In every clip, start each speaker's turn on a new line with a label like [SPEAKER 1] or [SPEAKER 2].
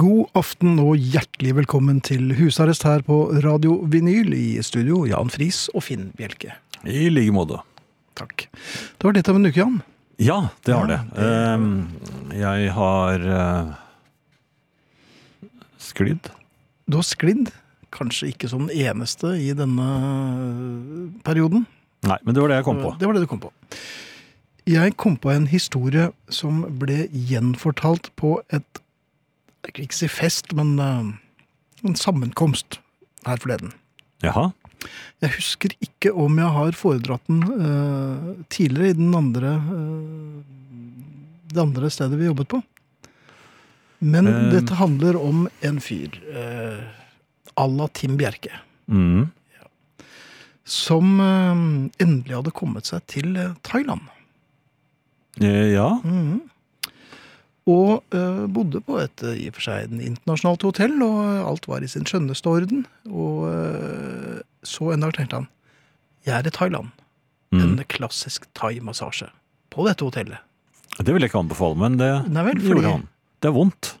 [SPEAKER 1] God aften og hjertelig velkommen til husarrest her på Radio Vinyl. I studio Jan Friis og Finn Bjelke.
[SPEAKER 2] I like måte.
[SPEAKER 1] Takk. Det var litt av en uke, Jan.
[SPEAKER 2] Ja, det
[SPEAKER 1] Ja,
[SPEAKER 2] har det. Ehm, jeg har eh, sklidd.
[SPEAKER 1] Du har sklidd. Kanskje ikke som den eneste i denne eh, perioden.
[SPEAKER 2] Nei, men det var det jeg kom på.
[SPEAKER 1] Det var det du kom på. Jeg kom på en historie som ble gjenfortalt på et Jeg vil ikke si fest, men eh, en sammenkomst her forleden.
[SPEAKER 2] Jaha.
[SPEAKER 1] Jeg husker ikke om jeg har foredratt den eh, tidligere i den andre, eh, det andre stedet vi jobbet på. Men
[SPEAKER 2] Eh.
[SPEAKER 1] dette handler om en fyr eh, à la Tim Bjerke.
[SPEAKER 2] Mm.
[SPEAKER 1] Som eh, endelig hadde kommet seg til eh, Thailand.
[SPEAKER 2] Eh, ja.
[SPEAKER 1] Mhm. Og eh, bodde på et eh, i og for seg en internasjonalt hotell, og eh, alt var i sin skjønneste orden. Og eh, så en dag tenkte han jeg er i Thailand.
[SPEAKER 2] Mm.
[SPEAKER 1] en klassisk thai-massasje på dette hotellet.
[SPEAKER 2] Det vil jeg ikke anbefale, men det
[SPEAKER 1] Nei vel, fordi-
[SPEAKER 2] gjorde han. Det er vondt.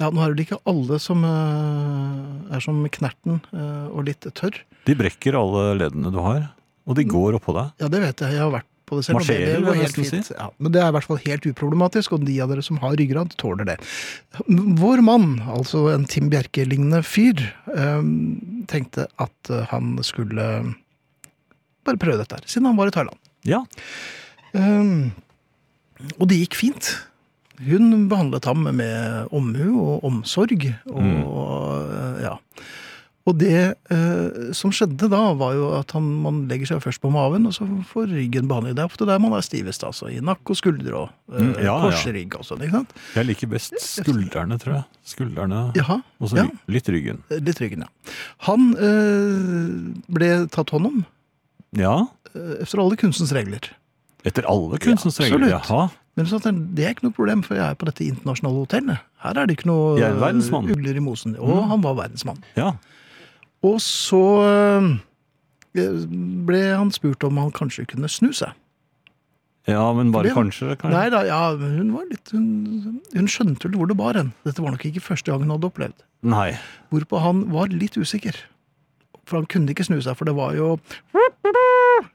[SPEAKER 1] Ja, Nå er det vel ikke alle som eh, er som Knerten eh, og litt tørr.
[SPEAKER 2] De brekker alle leddene du har, og
[SPEAKER 1] Mm.
[SPEAKER 2] de går oppå deg.
[SPEAKER 1] Ja, det vet jeg. Jeg har vært på det selv. og det-
[SPEAKER 2] Marsjerer,
[SPEAKER 1] det
[SPEAKER 2] vil
[SPEAKER 1] går
[SPEAKER 2] jeg
[SPEAKER 1] helt
[SPEAKER 2] nesten
[SPEAKER 1] fint. Ja, men det er i hvert fall helt uproblematisk, og de av dere som har ryggrad, tåler det. Vår mann, altså en Tim Bjerke-lignende fyr, eh, tenkte at eh, han skulle bare prøve dette her, siden han var i Thailand.
[SPEAKER 2] Ja.
[SPEAKER 1] Um, og det gikk fint. Hun behandlet ham med omhu og omsorg. Og,
[SPEAKER 2] Mm.
[SPEAKER 1] eh, ja. og det eh, som skjedde da, var jo at han, man legger seg først på maven, og så får ryggen behandling. Det er ofte der man er stivest, altså. I nakke og skuldre og eh,
[SPEAKER 2] Mm, ja, ja.
[SPEAKER 1] korsrygg og sånn. ikke sant?
[SPEAKER 2] Jeg liker best skuldrene, tror jeg. Skuldrene
[SPEAKER 1] Jaha,
[SPEAKER 2] og så
[SPEAKER 1] ja. Eh,
[SPEAKER 2] ry- litt ryggen.
[SPEAKER 1] Litt ryggen, ja. Han eh, ble tatt hånd om,
[SPEAKER 2] Ja.
[SPEAKER 1] eh, efter alle kunstens regler.
[SPEAKER 2] Etter alle kunstens
[SPEAKER 1] Ja,
[SPEAKER 2] regler.
[SPEAKER 1] absolutt.
[SPEAKER 2] Jaha.
[SPEAKER 1] Men så tenkte jeg, det er ikke noe problem, for jeg er på dette internasjonale hotellet. Her er det ikke noe eh,
[SPEAKER 2] Jeg er verdensmann. Mm.
[SPEAKER 1] ugler i mosen. Og han var verdensmann.
[SPEAKER 2] Ja.
[SPEAKER 1] Og så øh, ble han spurt om han kanskje kunne snu seg.
[SPEAKER 2] ja, men bare
[SPEAKER 1] Fordi han-
[SPEAKER 2] kanskje.
[SPEAKER 1] Nei
[SPEAKER 2] kanskje.
[SPEAKER 1] da, ja, men hun var litt Hun, hun skjønte vel hvor det bar hen. Dette var nok ikke første gang hun hadde opplevd.
[SPEAKER 2] Nei.
[SPEAKER 1] Hvorpå han var litt usikker. For han kunne ikke snu seg, for det var jo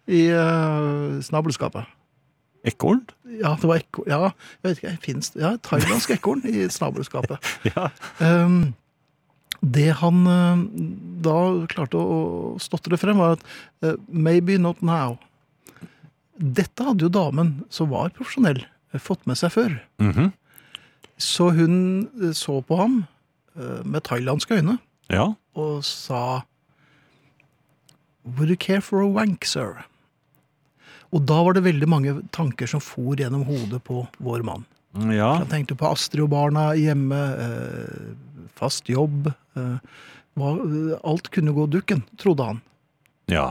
[SPEAKER 1] i øh, snabelskapet.
[SPEAKER 2] Ekorn?
[SPEAKER 1] Ja, det var ekko... Ja, jeg vet ikke, finnes det Ja, thailandsk ekorn i snabelskapet.
[SPEAKER 2] Ja.
[SPEAKER 1] Ehm, det han eh, da klarte å stotre frem, var at eh, Maybe not now. Dette hadde jo damen, som var profesjonell, eh, fått med seg før.
[SPEAKER 2] Mhm.
[SPEAKER 1] Så hun eh, så på ham eh, med thailandske øyne
[SPEAKER 2] Ja.
[SPEAKER 1] og sa Would you care for a wank, sir? Og da var det veldig mange tanker som for gjennom hodet på vår mann.
[SPEAKER 2] ja.
[SPEAKER 1] Han tenkte på Astrid og barna hjemme, eh, fast jobb. Eh, hva, alt kunne gå dukken, trodde han.
[SPEAKER 2] Ja.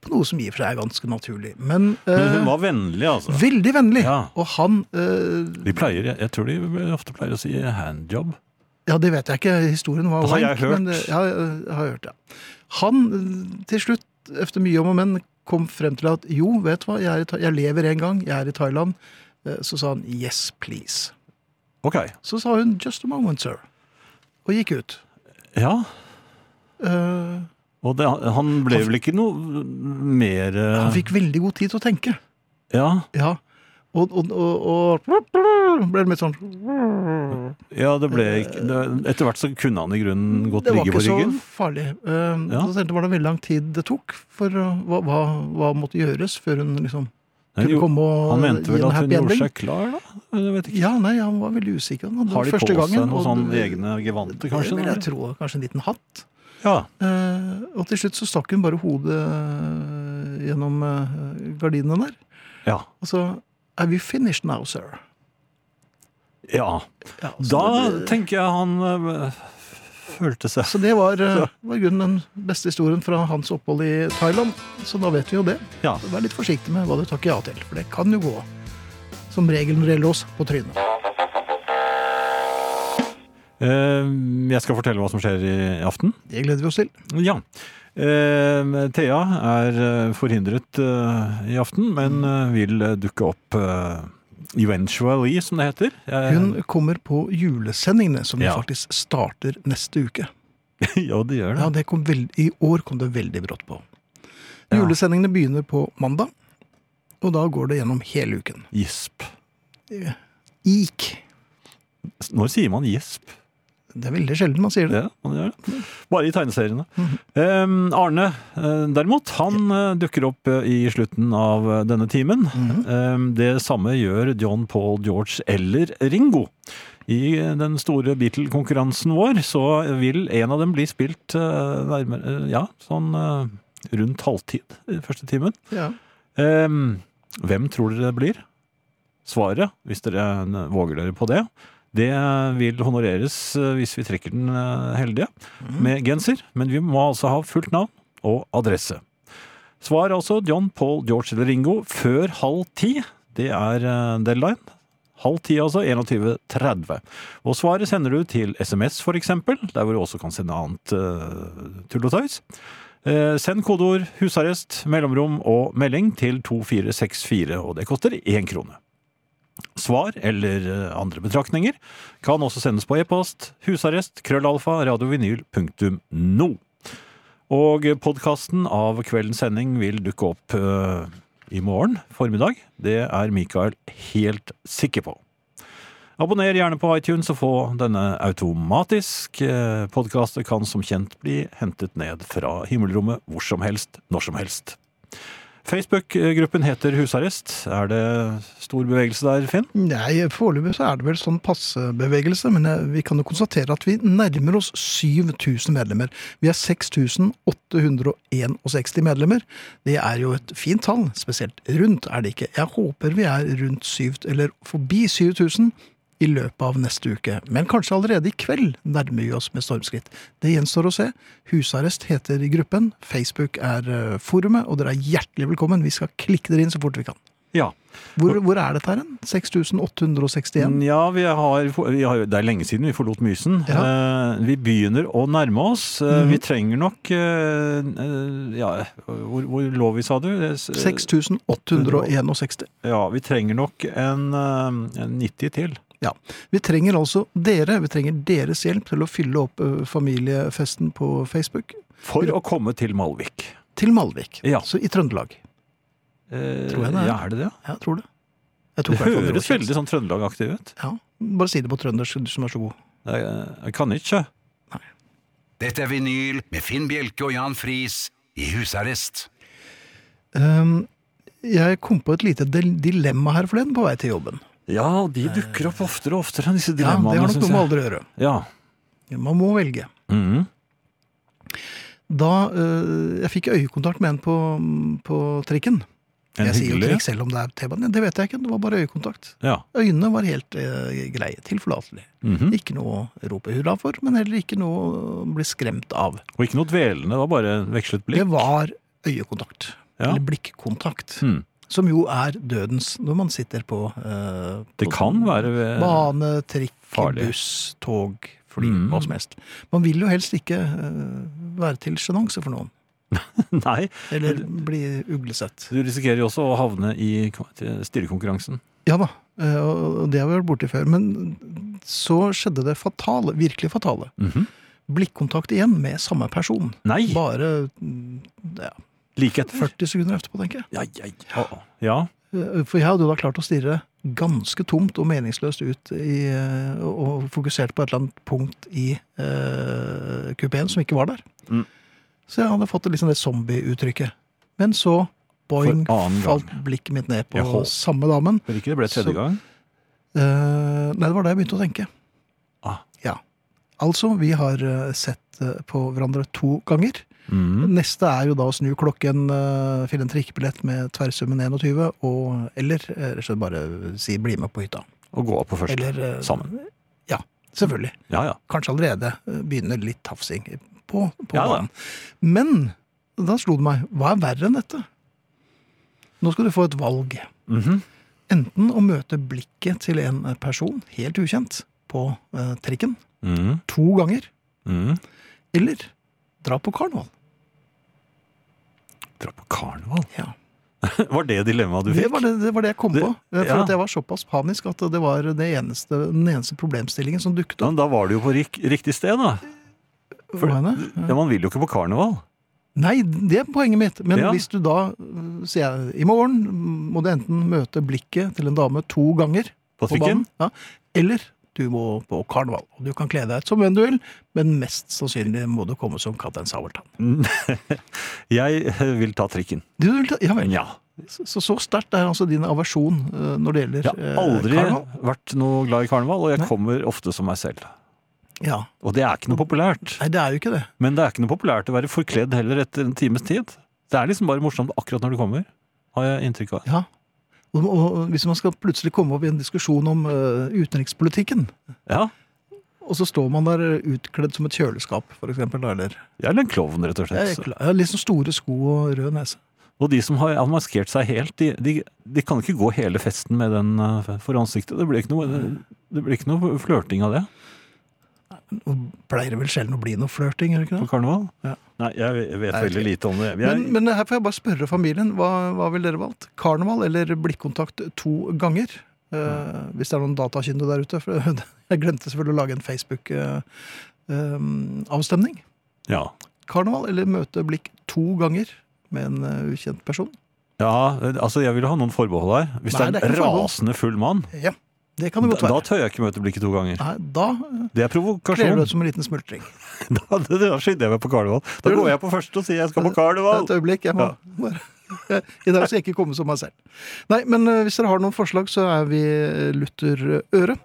[SPEAKER 1] På noe som i og for seg er ganske naturlig. Men, eh,
[SPEAKER 2] Men hun var vennlig, altså.
[SPEAKER 1] veldig vennlig.
[SPEAKER 2] Ja.
[SPEAKER 1] Og han eh,
[SPEAKER 2] De pleier, jeg, jeg tror de ofte pleier å si handjob.
[SPEAKER 1] Ja, det vet jeg ikke. Historien var
[SPEAKER 2] Det har Altså, jeg hørt.
[SPEAKER 1] men det- ja, jeg har hørt, ja. Han, eh, til slutt, efter mye om og men, kom frem til at jo, vet du hva, jeg, er i, Tha- jeg lever en gang, jeg er i Thailand. Eh, Så sa han yes, please.
[SPEAKER 2] Ok.
[SPEAKER 1] Så sa hun just a moment, sir. Og gikk ut.
[SPEAKER 2] Ja.
[SPEAKER 1] Eh,
[SPEAKER 2] Og det, han ble vel ikke noe mer eh,
[SPEAKER 1] han fikk veldig god tid til å tenke.
[SPEAKER 2] Ja.
[SPEAKER 1] Ja. Og, og, og, og ble det litt sånn
[SPEAKER 2] ja, det ble ikke det- Etter hvert så kunne han i grunnen godt
[SPEAKER 1] Eh, Det var
[SPEAKER 2] ligge
[SPEAKER 1] ikke
[SPEAKER 2] på
[SPEAKER 1] så
[SPEAKER 2] ryggen.
[SPEAKER 1] farlig. Um,
[SPEAKER 2] Ja.
[SPEAKER 1] Så tenkte jeg var det veldig lang tid det tok, for uh, hva, hva, hva måtte gjøres før hun liksom
[SPEAKER 2] Men
[SPEAKER 1] kunne
[SPEAKER 2] jo,
[SPEAKER 1] komme og
[SPEAKER 2] han mente
[SPEAKER 1] gi
[SPEAKER 2] vel
[SPEAKER 1] en
[SPEAKER 2] at hun
[SPEAKER 1] happy
[SPEAKER 2] gjorde
[SPEAKER 1] ending?
[SPEAKER 2] seg klar, da? Jeg vet ikke.
[SPEAKER 1] Ja, nei, han var veldig usikker. Han hadde
[SPEAKER 2] Har de på
[SPEAKER 1] første
[SPEAKER 2] seg
[SPEAKER 1] gangen,
[SPEAKER 2] noen
[SPEAKER 1] og-
[SPEAKER 2] sånne egne gevanter,
[SPEAKER 1] Det
[SPEAKER 2] kanskje?
[SPEAKER 1] vil jeg
[SPEAKER 2] eller?
[SPEAKER 1] tro. Kanskje en liten hatt.
[SPEAKER 2] Ja.
[SPEAKER 1] Eh, og til slutt så stakk hun bare hodet eh, gjennom eh, gardinene der.
[SPEAKER 2] Ja.
[SPEAKER 1] Og så Have you finished now, sir?
[SPEAKER 2] ja.
[SPEAKER 1] Ja, så
[SPEAKER 2] Da
[SPEAKER 1] det,
[SPEAKER 2] tenker jeg han eh, følte seg
[SPEAKER 1] så det var, eh, var i grunnen den beste historien fra hans opphold i Thailand. Så da vet vi jo det.
[SPEAKER 2] Ja.
[SPEAKER 1] Så Vær litt forsiktig med hva du takker ja til, for det kan jo gå som regel når det gjelder oss, på trynet.
[SPEAKER 2] Eh, Jeg skal fortelle hva som skjer i aften.
[SPEAKER 1] Det gleder vi oss til.
[SPEAKER 2] Ja. Eh, Thea er eh, forhindret eh, i aften,
[SPEAKER 1] Mm.
[SPEAKER 2] men eh, vil eh, dukke opp eh, eventually, som det heter. Eh,
[SPEAKER 1] Hun kommer på julesendingene, som
[SPEAKER 2] Ja.
[SPEAKER 1] faktisk starter neste uke.
[SPEAKER 2] ja, det gjør det.
[SPEAKER 1] Ja, det kom veld... I år kom det veldig brått på.
[SPEAKER 2] Ja.
[SPEAKER 1] Julesendingene begynner på mandag, og da går det gjennom hele uken.
[SPEAKER 2] Gisp.
[SPEAKER 1] Ik.
[SPEAKER 2] Når sier man gisp?
[SPEAKER 1] Det er veldig sjelden man sier det.
[SPEAKER 2] Ja, man gjør det. Bare i tegneseriene. Eh, Arne, eh, derimot, han eh, dukker opp eh, i slutten av eh, denne timen. Eh, det samme gjør John Paul George eller Ringo. I eh, den store Beatle-konkurransen vår så vil en av dem bli spilt eh, nærmere, eh, ja, sånn eh, rundt halvtid i første timen.
[SPEAKER 1] Ja.
[SPEAKER 2] Eh, hvem tror dere det blir? Svaret, hvis dere eh, våger dere på det, det vil honoreres eh, hvis vi trekker den eh, heldige med genser, men vi må altså ha fullt navn og adresse. Svar altså John, Paul, George eller Ringo før halv ti. Det er eh, deadline. Halv ti, altså. 21.30. Og svaret sender du til SMS, for eksempel, der hvor du også kan sende annet eh, tull og tøys. Eh, send kodeord 'husarrest', mellomrom og melding til 2464, og det koster én krone. Svar eller eh, andre betraktninger kan også sendes på e-post husarrest krøllalfa radiovinyl.no. Og podkasten av kveldens sending vil dukke opp eh, i morgen formiddag. Det er Mikael helt sikker på. Abonner gjerne på iTunes og få denne automatisk. Podkaster kan som kjent bli hentet ned fra himmelrommet hvor som helst, når som helst. Facebook-gruppen heter Husarrest. Er det stor bevegelse der, Finn?
[SPEAKER 1] Nei, foreløpig så er det vel sånn passebevegelse, men eh, vi kan jo konstatere at vi nærmer oss 7000 medlemmer. Vi er 6861 medlemmer. Det er jo et fint tall, spesielt rundt er det ikke. Jeg håper vi er rundt 7, eller forbi 7000 i løpet av neste uke. Men kanskje allerede i kveld nærmer vi oss med stormskritt. Det gjenstår å se. Husarrest heter gruppen, Facebook er eh, forumet, og dere er hjertelig velkommen. Vi skal klikke dere inn så fort vi kan.
[SPEAKER 2] Ja.
[SPEAKER 1] Hvor, hvor er dette her hen? 6861?
[SPEAKER 2] Mm, ja vi har, vi har, det er lenge siden vi forlot Mysen. Eh, vi begynner å nærme oss. Eh, Vi trenger nok eh, eh, Ja, hvor, hvor lå vi, sa du? Eh, s-
[SPEAKER 1] 6861.
[SPEAKER 2] Ja, vi trenger nok en, eh, en 90 til.
[SPEAKER 1] Ja. Vi trenger altså dere. Vi trenger deres hjelp til å fylle opp ø, familiefesten på Facebook
[SPEAKER 2] For å komme til Malvik.
[SPEAKER 1] til Malvik.
[SPEAKER 2] Ja.
[SPEAKER 1] Så i Trøndelag. Tror jeg det er.
[SPEAKER 2] Eh, Ja, er det det?
[SPEAKER 1] Ja, tror det. Jeg tror
[SPEAKER 2] Det
[SPEAKER 1] i hvert fall
[SPEAKER 2] høres
[SPEAKER 1] var
[SPEAKER 2] veldig sånn Trøndelag-aktig ut.
[SPEAKER 1] kjent. Ja. Bare si det på trøndersk, du som er så god.
[SPEAKER 2] Det er- Jeg kan ikke.
[SPEAKER 3] Dette er vinyl med Finn Bjelke og Jan Friis i husarrest.
[SPEAKER 1] Ehm, jeg kom på et lite del- dilemma her forleden på vei til jobben.
[SPEAKER 2] Ja, de dukker opp oftere og oftere, disse
[SPEAKER 1] Ja, Det har
[SPEAKER 2] dilemmaene,
[SPEAKER 1] nok
[SPEAKER 2] syns
[SPEAKER 1] noe med
[SPEAKER 2] jeg.
[SPEAKER 1] alder å gjøre.
[SPEAKER 2] Ja.
[SPEAKER 1] Man må velge.
[SPEAKER 2] Mhm.
[SPEAKER 1] Da ø, Jeg fikk øyekontakt med en på, på trikken.
[SPEAKER 2] En
[SPEAKER 1] jeg sier jo
[SPEAKER 2] hyggelig
[SPEAKER 1] trikk selv om det er T-banen. Det vet jeg ikke, det var bare øyekontakt.
[SPEAKER 2] Ja.
[SPEAKER 1] Øynene var helt eh, greie, tilforlatelige.
[SPEAKER 2] Mhm.
[SPEAKER 1] Ikke noe å rope hurra for, men heller ikke noe å bli skremt av.
[SPEAKER 2] Og ikke noe dvelende, det var bare vekslet blikk.
[SPEAKER 1] Det var øyekontakt,
[SPEAKER 2] Ja.
[SPEAKER 1] eller blikkontakt,
[SPEAKER 2] Mhm.
[SPEAKER 1] som jo er dødens når man sitter på, eh,
[SPEAKER 2] Det
[SPEAKER 1] på
[SPEAKER 2] kan være eh, ved-
[SPEAKER 1] Bane, trikk,
[SPEAKER 2] farlig.
[SPEAKER 1] buss, tog, fly,
[SPEAKER 2] Mhm.
[SPEAKER 1] hva som helst. Man vil jo helst ikke eh, være til sjenanse for noen,
[SPEAKER 2] Nei,
[SPEAKER 1] eller bli uglesett.
[SPEAKER 2] du risikerer jo også å havne i styrekonkurransen.
[SPEAKER 1] Ja da, eh, og det har vi vært borti før. Men så skjedde det fatale, virkelig fatale.
[SPEAKER 2] Mhm.
[SPEAKER 1] Blikkontakt igjen med samme person.
[SPEAKER 2] Nei!
[SPEAKER 1] Bare mm, ja,
[SPEAKER 2] Like etter.
[SPEAKER 1] 40 sekunder etterpå, tenker jeg.
[SPEAKER 2] Ja, ja, ja. ja.
[SPEAKER 1] Eh, For jeg hadde jo da klart å stirre ganske tomt og meningsløst ut i, eh, og og fokusert på et eller annet punkt i eh, kupeen som ikke var der.
[SPEAKER 2] Mm.
[SPEAKER 1] Så jeg hadde fått liksom det zombie-uttrykket. Men så, boing,
[SPEAKER 2] For annen gang.
[SPEAKER 1] falt blikket mitt ned på
[SPEAKER 2] Jaha.
[SPEAKER 1] samme damen.
[SPEAKER 2] For ikke det ble tredje
[SPEAKER 1] Så-
[SPEAKER 2] gang.
[SPEAKER 1] Eh, nei, det var da jeg begynte å tenke.
[SPEAKER 2] Ah.
[SPEAKER 1] Ja. Altså, vi har eh, sett eh, på hverandre to ganger.
[SPEAKER 2] Mm.
[SPEAKER 1] Neste er jo da å snu klokken, eh, finne en trikkebillett med tverrsummen 21, og, eller eh, rett og slett bare si 'bli med på hytta'.
[SPEAKER 2] Og gå på første.
[SPEAKER 1] Eller, eh,
[SPEAKER 2] Sammen.
[SPEAKER 1] Ja, selvfølgelig.
[SPEAKER 2] Ja, ja.
[SPEAKER 1] Kanskje allerede eh, begynner litt tafsing på, på
[SPEAKER 2] Ja, da.
[SPEAKER 1] banen. Men da slo det meg, hva er verre enn dette? Nå skal du få et valg.
[SPEAKER 2] Mhm.
[SPEAKER 1] Enten å møte blikket til en person, helt ukjent, på eh, trikken
[SPEAKER 2] Mhm.
[SPEAKER 1] to ganger,
[SPEAKER 2] Mhm.
[SPEAKER 1] eller dra på karneval.
[SPEAKER 2] Dra på karneval.
[SPEAKER 1] Ja.
[SPEAKER 2] Var det dilemmaet du fikk?
[SPEAKER 1] Det var det, det var det jeg kom
[SPEAKER 2] Det-
[SPEAKER 1] på. eh, For
[SPEAKER 2] ja.
[SPEAKER 1] at jeg var såpass panisk at det var det eneste, den eneste problemstillingen som dukket
[SPEAKER 2] Ja,
[SPEAKER 1] opp.
[SPEAKER 2] men da var du jo på rik riktig sted, da. for-
[SPEAKER 1] for henne.
[SPEAKER 2] Ja, Man vil jo ikke på karneval.
[SPEAKER 1] Nei, det er poenget mitt. Men
[SPEAKER 2] Ja.
[SPEAKER 1] hvis du da øh, sier jeg, i morgen må du enten møte blikket til en dame to ganger
[SPEAKER 2] På trikken?
[SPEAKER 1] ja, eller du må på karneval. Og du kan kle deg ut som hvem du vil, men mest sannsynlig må du komme som Kaptein Sabeltann.
[SPEAKER 2] Jeg eh, vil ta trikken.
[SPEAKER 1] Du vil ta, ja vel.
[SPEAKER 2] Ja.
[SPEAKER 1] Så, så- så sterkt er altså din aversjon øh, når det gjelder
[SPEAKER 2] Jeg
[SPEAKER 1] øh,
[SPEAKER 2] har aldri
[SPEAKER 1] karneval.
[SPEAKER 2] vært noe glad i karneval, og jeg
[SPEAKER 1] Nei.
[SPEAKER 2] kommer ofte som meg selv.
[SPEAKER 1] Ja.
[SPEAKER 2] Og det er ikke noe populært.
[SPEAKER 1] Nei, det er jo ikke det.
[SPEAKER 2] Men det er ikke noe populært å være forkledd heller etter en times tid. Det er liksom bare morsomt akkurat når du kommer, har jeg inntrykk av.
[SPEAKER 1] Ja. Og, og hvis man skal plutselig komme opp i en diskusjon om øh, utenrikspolitikken,
[SPEAKER 2] Ja,
[SPEAKER 1] og så står man der øh, utkledd som et kjøleskap, for eksempel, da, eller
[SPEAKER 2] jeg er en klovn, rett og
[SPEAKER 1] Ja, jeg er
[SPEAKER 2] slett.
[SPEAKER 1] klar. Jeg har liksom store sko og rød nese.
[SPEAKER 2] Og de som har har maskert seg helt, de, de, de kan ikke gå hele festen med den eh, for ansiktet. Det blir ikke noe, det blir ikke noe flørting av det
[SPEAKER 1] Og pleier det vel sjelden å bli noe flørting, gjør det ikke
[SPEAKER 2] på
[SPEAKER 1] det?
[SPEAKER 2] karneval.
[SPEAKER 1] Ja.
[SPEAKER 2] Nei, jeg jeg vet
[SPEAKER 1] Nei,
[SPEAKER 2] veldig
[SPEAKER 1] ok.
[SPEAKER 2] lite om det. Jeg,
[SPEAKER 1] Men, men her får jeg bare spørre familien. Hva, hva ville dere valgt? Karneval eller blikkontakt to ganger? Eh,
[SPEAKER 2] Mm.
[SPEAKER 1] Hvis det er noen datakyndige der ute. For jeg glemte selvfølgelig å lage en eh, Facebook-avstemning.
[SPEAKER 2] ja.
[SPEAKER 1] Karneval eller møte blikk to ganger med en eh, ukjent person?
[SPEAKER 2] ja, altså jeg vil ha noen forbehold her. Hvis
[SPEAKER 1] Nei,
[SPEAKER 2] det
[SPEAKER 1] det er
[SPEAKER 2] er en
[SPEAKER 1] ikke noe forbehold.
[SPEAKER 2] rasende full mann,
[SPEAKER 1] Ja, det kan
[SPEAKER 2] da,
[SPEAKER 1] det godt
[SPEAKER 2] da
[SPEAKER 1] være.
[SPEAKER 2] tør jeg ikke møte blikket to ganger.
[SPEAKER 1] Nei, da eh,
[SPEAKER 2] Det
[SPEAKER 1] kler
[SPEAKER 2] er
[SPEAKER 1] du
[SPEAKER 2] provokasjon.
[SPEAKER 1] deg ut som en liten smultring.
[SPEAKER 2] Da, da skynder jeg meg på karneval. Da
[SPEAKER 1] Gjør du
[SPEAKER 2] går
[SPEAKER 1] det?
[SPEAKER 2] jeg på første og sier jeg skal på
[SPEAKER 1] Ja,
[SPEAKER 2] karneval.
[SPEAKER 1] Et øyeblikk. Jeg må bare I dag skal jeg ikke komme som meg selv. Nei, men eh, hvis dere har noen forslag, så er vi Luther Øre.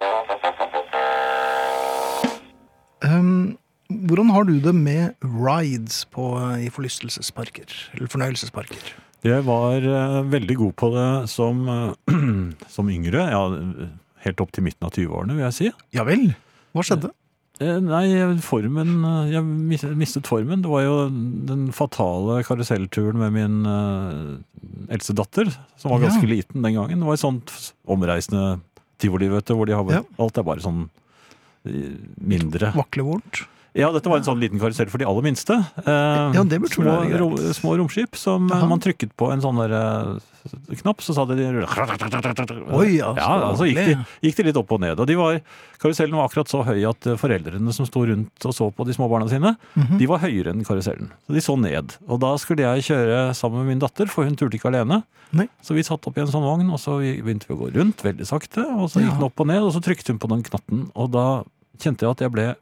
[SPEAKER 1] Um, hvordan har du det med rides på, eh, i forlystelsesparker? Eller fornøyelsesparker?
[SPEAKER 2] Jeg var eh, veldig god på det som, eh, som yngre, ja, helt opp til midten av 20-årene, vil jeg si.
[SPEAKER 1] Ja vel? Hva skjedde?
[SPEAKER 2] Eh, Nei, formen eh, Jeg mis- mistet formen. Det var jo den fatale karusellturen med min eh, eldste datter, som var
[SPEAKER 1] Ja.
[SPEAKER 2] ganske liten den gangen. Det var et sånt s- omreisende tivoli, vet du, hvor de har
[SPEAKER 1] Ja.
[SPEAKER 2] alt er bare sånn eh, mindre.
[SPEAKER 1] Vaklevorent?
[SPEAKER 2] Ja, dette var en sånn liten karusell for de aller minste. Eh,
[SPEAKER 1] Ja, det burde
[SPEAKER 2] små,
[SPEAKER 1] være greit.
[SPEAKER 2] ro- små romskip som eh,
[SPEAKER 1] Jaha.
[SPEAKER 2] man trykket på en sånn der eh, knapp, så sa det de
[SPEAKER 1] Oi, ja, så
[SPEAKER 2] ja, altså gikk de,
[SPEAKER 1] ordentlig.
[SPEAKER 2] gikk de litt opp og ned. Og de var, karusellen var akkurat så høy at eh, foreldrene som sto rundt og så på de små barna sine,
[SPEAKER 1] Mhm.
[SPEAKER 2] de var høyere enn karusellen. Så de så ned. Og da skulle jeg kjøre sammen med min datter, for hun turte ikke alene.
[SPEAKER 1] Nei.
[SPEAKER 2] Så vi satt opp i en sånn vogn, og så vi- begynte vi å gå rundt veldig sakte. Og så gikk
[SPEAKER 1] Ja.
[SPEAKER 2] den opp og ned, og så trykket hun på den knatten, og da kjente jeg at jeg ble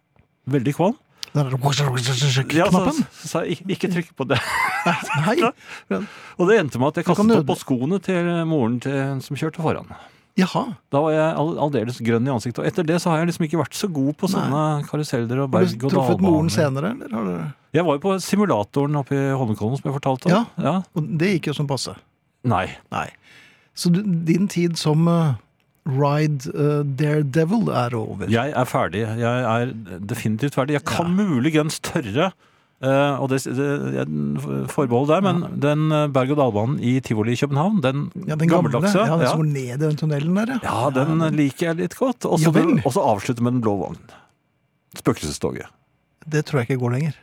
[SPEAKER 2] veldig kvalm.
[SPEAKER 1] Den der
[SPEAKER 2] Ja, så,
[SPEAKER 1] knappen?
[SPEAKER 2] så sa jeg "Ik- ikke trykk på det.
[SPEAKER 1] Nei.
[SPEAKER 2] Og det endte med at jeg
[SPEAKER 1] Du kan
[SPEAKER 2] kastet opp
[SPEAKER 1] nød-
[SPEAKER 2] på skoene til moren til hun som kjørte foran.
[SPEAKER 1] Jaha.
[SPEAKER 2] Da var jeg all- aldeles grønn i ansiktet. Og etter det så har jeg liksom ikke vært så god på sånne karuseller og
[SPEAKER 1] Har du truffet moren
[SPEAKER 2] berg-og-dal-baner.
[SPEAKER 1] senere, eller? Har du...
[SPEAKER 2] Jeg var jo på simulatoren oppe i Holmenkollen som jeg fortalte om.
[SPEAKER 1] Ja.
[SPEAKER 2] Ja.
[SPEAKER 1] Og det gikk jo som passe.
[SPEAKER 2] Nei.
[SPEAKER 1] Nei. Så du, din tid som eh, Ride eh, Daredevil er over?
[SPEAKER 2] Jeg er ferdig. Jeg er definitivt ferdig. Jeg kan muligens tørre eh, og det, det jeg forbehold der, men den eh, berg-og-dal-banen i Tivoli i København, den,
[SPEAKER 1] Ja, den gamle.
[SPEAKER 2] gammeldagse
[SPEAKER 1] ja, den
[SPEAKER 2] ja.
[SPEAKER 1] som går ned i den tunnelen der, ja.
[SPEAKER 2] Ja, den liker jeg litt godt. Og så
[SPEAKER 1] Ja vel.
[SPEAKER 2] og så avslutte med Den blå vogn. Spøkelsestoget.
[SPEAKER 1] Det tror jeg ikke går lenger.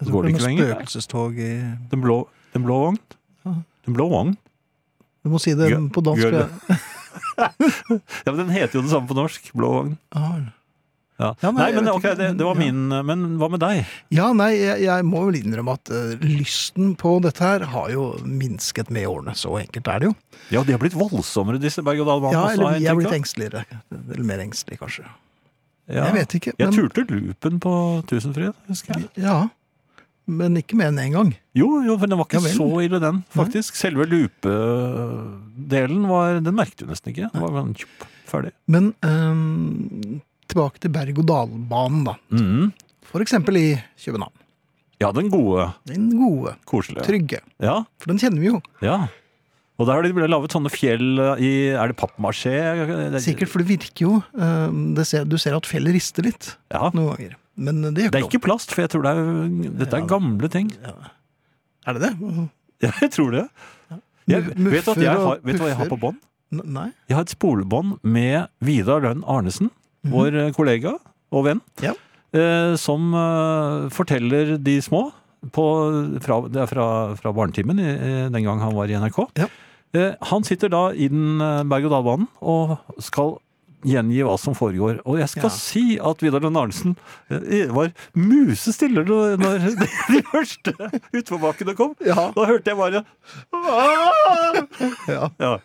[SPEAKER 1] Jeg tror
[SPEAKER 2] Går det
[SPEAKER 1] er noe
[SPEAKER 2] ikke lenger?
[SPEAKER 1] Spøkelsestog i
[SPEAKER 2] Den blå, den blå vogn? Den blå vogn?
[SPEAKER 1] Du må si det
[SPEAKER 2] Gjør-
[SPEAKER 1] på dansk. for
[SPEAKER 2] gjør det. Ja, men Den heter jo det samme på norsk. Blå vogn.
[SPEAKER 1] jeg- Ah.
[SPEAKER 2] Ja.
[SPEAKER 1] Ja,
[SPEAKER 2] nei,
[SPEAKER 1] nei, jeg
[SPEAKER 2] men
[SPEAKER 1] vet
[SPEAKER 2] ok,
[SPEAKER 1] ikke.
[SPEAKER 2] det, det var
[SPEAKER 1] Ja.
[SPEAKER 2] min Men hva med deg?
[SPEAKER 1] Ja, nei, jeg, jeg må vel innrømme at eh, lysten på dette her har jo minsket med årene. Så enkelt er det jo.
[SPEAKER 2] Ja, de har blitt voldsommere, disse berg-og-dal-banene.
[SPEAKER 1] Ja,
[SPEAKER 2] også, har
[SPEAKER 1] eller
[SPEAKER 2] jeg
[SPEAKER 1] vi er
[SPEAKER 2] inntrykk
[SPEAKER 1] blitt
[SPEAKER 2] av.
[SPEAKER 1] engsteligere. Eller mer engstelig, kanskje.
[SPEAKER 2] Ja.
[SPEAKER 1] Jeg vet ikke.
[SPEAKER 2] Jeg
[SPEAKER 1] Men,
[SPEAKER 2] turte loopen på Tusenfryd, husker jeg.
[SPEAKER 1] ja, men ikke mer enn én gang.
[SPEAKER 2] Jo, jo, for den var ikke
[SPEAKER 1] Ja vel.
[SPEAKER 2] så ille, den, faktisk. Selve loopedelen var Den merket du nesten ikke. Den var bare tjopp, ferdig.
[SPEAKER 1] Men ehm, tilbake til berg-og-dal-banen, da.
[SPEAKER 2] Mhm.
[SPEAKER 1] For eksempel i København.
[SPEAKER 2] Ja, den gode.
[SPEAKER 1] Den gode,
[SPEAKER 2] Koselige.
[SPEAKER 1] trygge.
[SPEAKER 2] Ja,
[SPEAKER 1] For den kjenner vi jo.
[SPEAKER 2] ja. Og der har de laget sånne fjell eh, i Er det pappmasjé?
[SPEAKER 1] Sikkert, for det virker jo eh, det ser, Du ser at fjellet rister litt
[SPEAKER 2] Ja.
[SPEAKER 1] noen ganger. Men det gjør
[SPEAKER 2] Det er
[SPEAKER 1] ikke noe.
[SPEAKER 2] ikke plast, for jeg tror det er, dette er gamle ting.
[SPEAKER 1] Er det det?
[SPEAKER 2] Ja, jeg tror det. Jeg,
[SPEAKER 1] Mu-
[SPEAKER 2] vet, du at
[SPEAKER 1] muffer
[SPEAKER 2] jeg
[SPEAKER 1] og
[SPEAKER 2] har, vet du hva jeg har
[SPEAKER 1] puffer.
[SPEAKER 2] på bånd?
[SPEAKER 1] N- Nei?
[SPEAKER 2] Jeg har et spolebånd med Vidar Lønn Arnesen, vår eh, kollega og venn,
[SPEAKER 1] Mhm. Ja.
[SPEAKER 2] eh, som eh, forteller de små på, fra, Det er fra, fra barnetimen i- i- den gang han var i NRK.
[SPEAKER 1] Ja.
[SPEAKER 2] Eh, han sitter da i den eh, berg-og-dal-banen og skal gjengi hva som foregår. Og jeg skal
[SPEAKER 1] Ja.
[SPEAKER 2] si at Vidar Lønn Arnesen eh, var musestille da- når de, de første utforbakkene kom.
[SPEAKER 1] Ja.
[SPEAKER 2] Da hørte jeg bare
[SPEAKER 1] ja.
[SPEAKER 2] ja.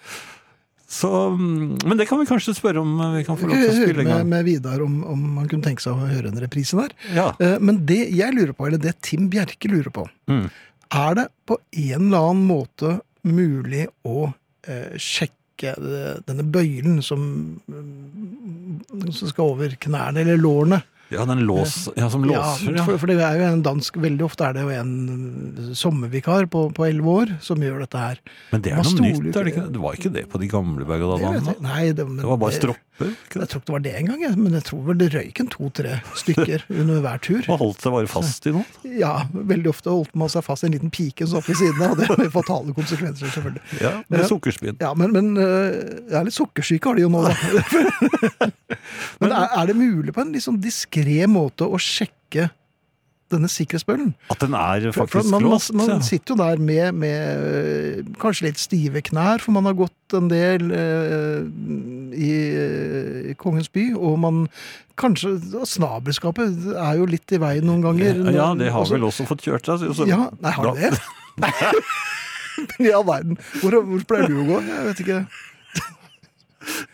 [SPEAKER 2] Så, mm, men det kan vi kanskje spørre om eh, vi kan få lov til å
[SPEAKER 1] Høre
[SPEAKER 2] spille en
[SPEAKER 1] med,
[SPEAKER 2] gang.
[SPEAKER 1] med Vidar om, om han kunne tenke seg å høre en reprise der.
[SPEAKER 2] Ja.
[SPEAKER 1] Eh, Men det jeg lurer på, eller det Tim Bjerke lurer på,
[SPEAKER 2] Mm.
[SPEAKER 1] er det på en eller annen måte mulig å eh, sjekke eh, denne bøylen som, eh, som skal over knærne eller lårene?
[SPEAKER 2] ja, den lås, ja, som låser,
[SPEAKER 1] ja.
[SPEAKER 2] ja.
[SPEAKER 1] For, for det er jo en dansk, veldig ofte er det jo en sommervikar på på elleve år som gjør dette her.
[SPEAKER 2] Men det er
[SPEAKER 1] Man
[SPEAKER 2] noe
[SPEAKER 1] stoler
[SPEAKER 2] nytt,
[SPEAKER 1] jo
[SPEAKER 2] er det
[SPEAKER 1] ikke-
[SPEAKER 2] ikke? Det var ikke det på de gamle berg og
[SPEAKER 1] Det vet jeg-
[SPEAKER 2] dalbanene?
[SPEAKER 1] Nei, det, men
[SPEAKER 2] Det var bare
[SPEAKER 1] det-
[SPEAKER 2] stropper? ikke
[SPEAKER 1] Jeg
[SPEAKER 2] det?
[SPEAKER 1] tror ikke det var det engang, jeg, men jeg tror vel det røyk en to-tre stykker under hver tur.
[SPEAKER 2] Man holdt seg bare fast i noe?
[SPEAKER 1] Ja, veldig ofte holdt man seg fast i en liten pike som satt ved siden av, og det har fatale konsekvenser, selvfølgelig.
[SPEAKER 2] Ja, med
[SPEAKER 1] Ja.
[SPEAKER 2] sukkerspinn.
[SPEAKER 1] Ja, men, men øh, jeg er litt sukkersyke har de jo nå, da. Men er, er det mulig på en litt sånn diskré måte å sjekke denne sikkerhetsbøllen?
[SPEAKER 2] At den er
[SPEAKER 1] For, for
[SPEAKER 2] faktisk
[SPEAKER 1] man, man,
[SPEAKER 2] låst?
[SPEAKER 1] man
[SPEAKER 2] Ja.
[SPEAKER 1] sitter jo der med, med øh, kanskje litt stive knær, for man har gått en del øh, i, øh, i Kongens by, og man kanskje og Snabelskapet er jo litt i veien noen ganger.
[SPEAKER 2] Ja, det har
[SPEAKER 1] Også-
[SPEAKER 2] vel også fått kjørt seg. så-
[SPEAKER 1] altså- ja, nei, har du
[SPEAKER 2] Da-
[SPEAKER 1] det? Men i all verden, hvor, hvor pleier du å gå? Jeg vet ikke.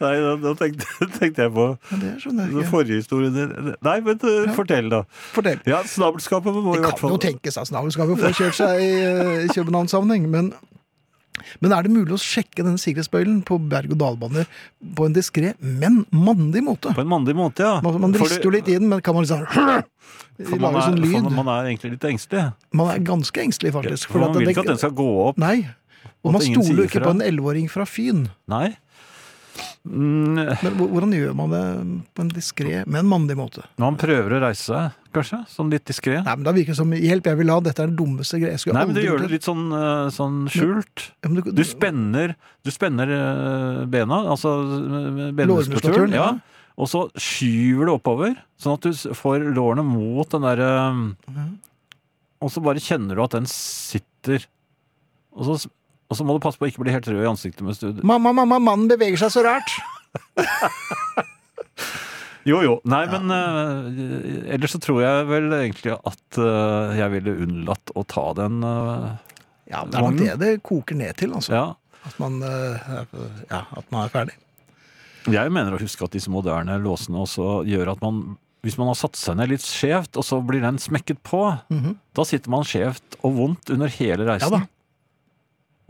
[SPEAKER 2] Nei, da, da tenkte, tenkte jeg på
[SPEAKER 1] Ja, det skjønner
[SPEAKER 2] den
[SPEAKER 1] jeg ikke.
[SPEAKER 2] forrige historien din. Nei, men eh, fortell, da.
[SPEAKER 1] Fortell.
[SPEAKER 2] Ja, Snabelskapet må i
[SPEAKER 1] Det kan
[SPEAKER 2] hvert
[SPEAKER 1] jo
[SPEAKER 2] fall
[SPEAKER 1] tenkes, altså. Nå skal vi jo få kjørt seg i, eh, i København-sammenheng, men men er det mulig å sjekke denne sikkerhetsbøylen på berg-og-dal-baner på en diskré, men mandig måte?
[SPEAKER 2] På en mandig måte, ja.
[SPEAKER 1] Man, man
[SPEAKER 2] For
[SPEAKER 1] rister
[SPEAKER 2] det-
[SPEAKER 1] jo litt i den, men kan man liksom
[SPEAKER 2] For
[SPEAKER 1] lage sånn
[SPEAKER 2] er,
[SPEAKER 1] lyd?
[SPEAKER 2] for man er egentlig litt engstelig.
[SPEAKER 1] Man er ganske engstelig, faktisk.
[SPEAKER 2] For man
[SPEAKER 1] at
[SPEAKER 2] vil
[SPEAKER 1] det-
[SPEAKER 2] ikke at den skal gå opp.
[SPEAKER 1] Nei. Og
[SPEAKER 2] At
[SPEAKER 1] man
[SPEAKER 2] ingen
[SPEAKER 1] stoler jo
[SPEAKER 2] sier
[SPEAKER 1] ikke
[SPEAKER 2] fra.
[SPEAKER 1] på en elleveåring fra Fyn.
[SPEAKER 2] Nei. Mm,
[SPEAKER 1] Men hvor- hvordan gjør man det på en diskré, men mandig måte?
[SPEAKER 2] man prøver å reise seg, kanskje? Sånn litt diskré? Nei,
[SPEAKER 1] Nei, men Da virker det som hjelp, jeg vil ha, dette er den dummeste greia. Jeg skulle
[SPEAKER 2] men
[SPEAKER 1] aldri
[SPEAKER 2] du gjør
[SPEAKER 1] gjort
[SPEAKER 2] det litt sånn, eh, sånn skjult.
[SPEAKER 1] Ja, men du-
[SPEAKER 2] Du spenner, du spenner eh, bena, altså eh, benmuskulaturen,
[SPEAKER 1] Lårmuskulaturen,
[SPEAKER 2] ja.
[SPEAKER 1] ja.
[SPEAKER 2] og så skyver du oppover, sånn at du s- får lårene mot den derre Og så bare kjenner du at den sitter. Og så, s- og så må du passe på å ikke bli helt rød i ansiktet mens du
[SPEAKER 1] Mamma, mamma, mannen beveger seg så rart!
[SPEAKER 2] Jo, jo. Nei, men eh, ellers så tror jeg vel egentlig at eh, jeg ville unnlatt å ta den. eh,
[SPEAKER 1] Ja, Det er nok det det koker ned til, altså.
[SPEAKER 2] ja.
[SPEAKER 1] At, man, eh, ja, at man er ferdig.
[SPEAKER 2] Jeg mener å huske at disse moderne låsene også gjør at man hvis man har satt seg ned litt skjevt, og så blir den smekket på, da sitter man skjevt og vondt under hele
[SPEAKER 1] Mhm. Ja
[SPEAKER 2] reisen.
[SPEAKER 1] da.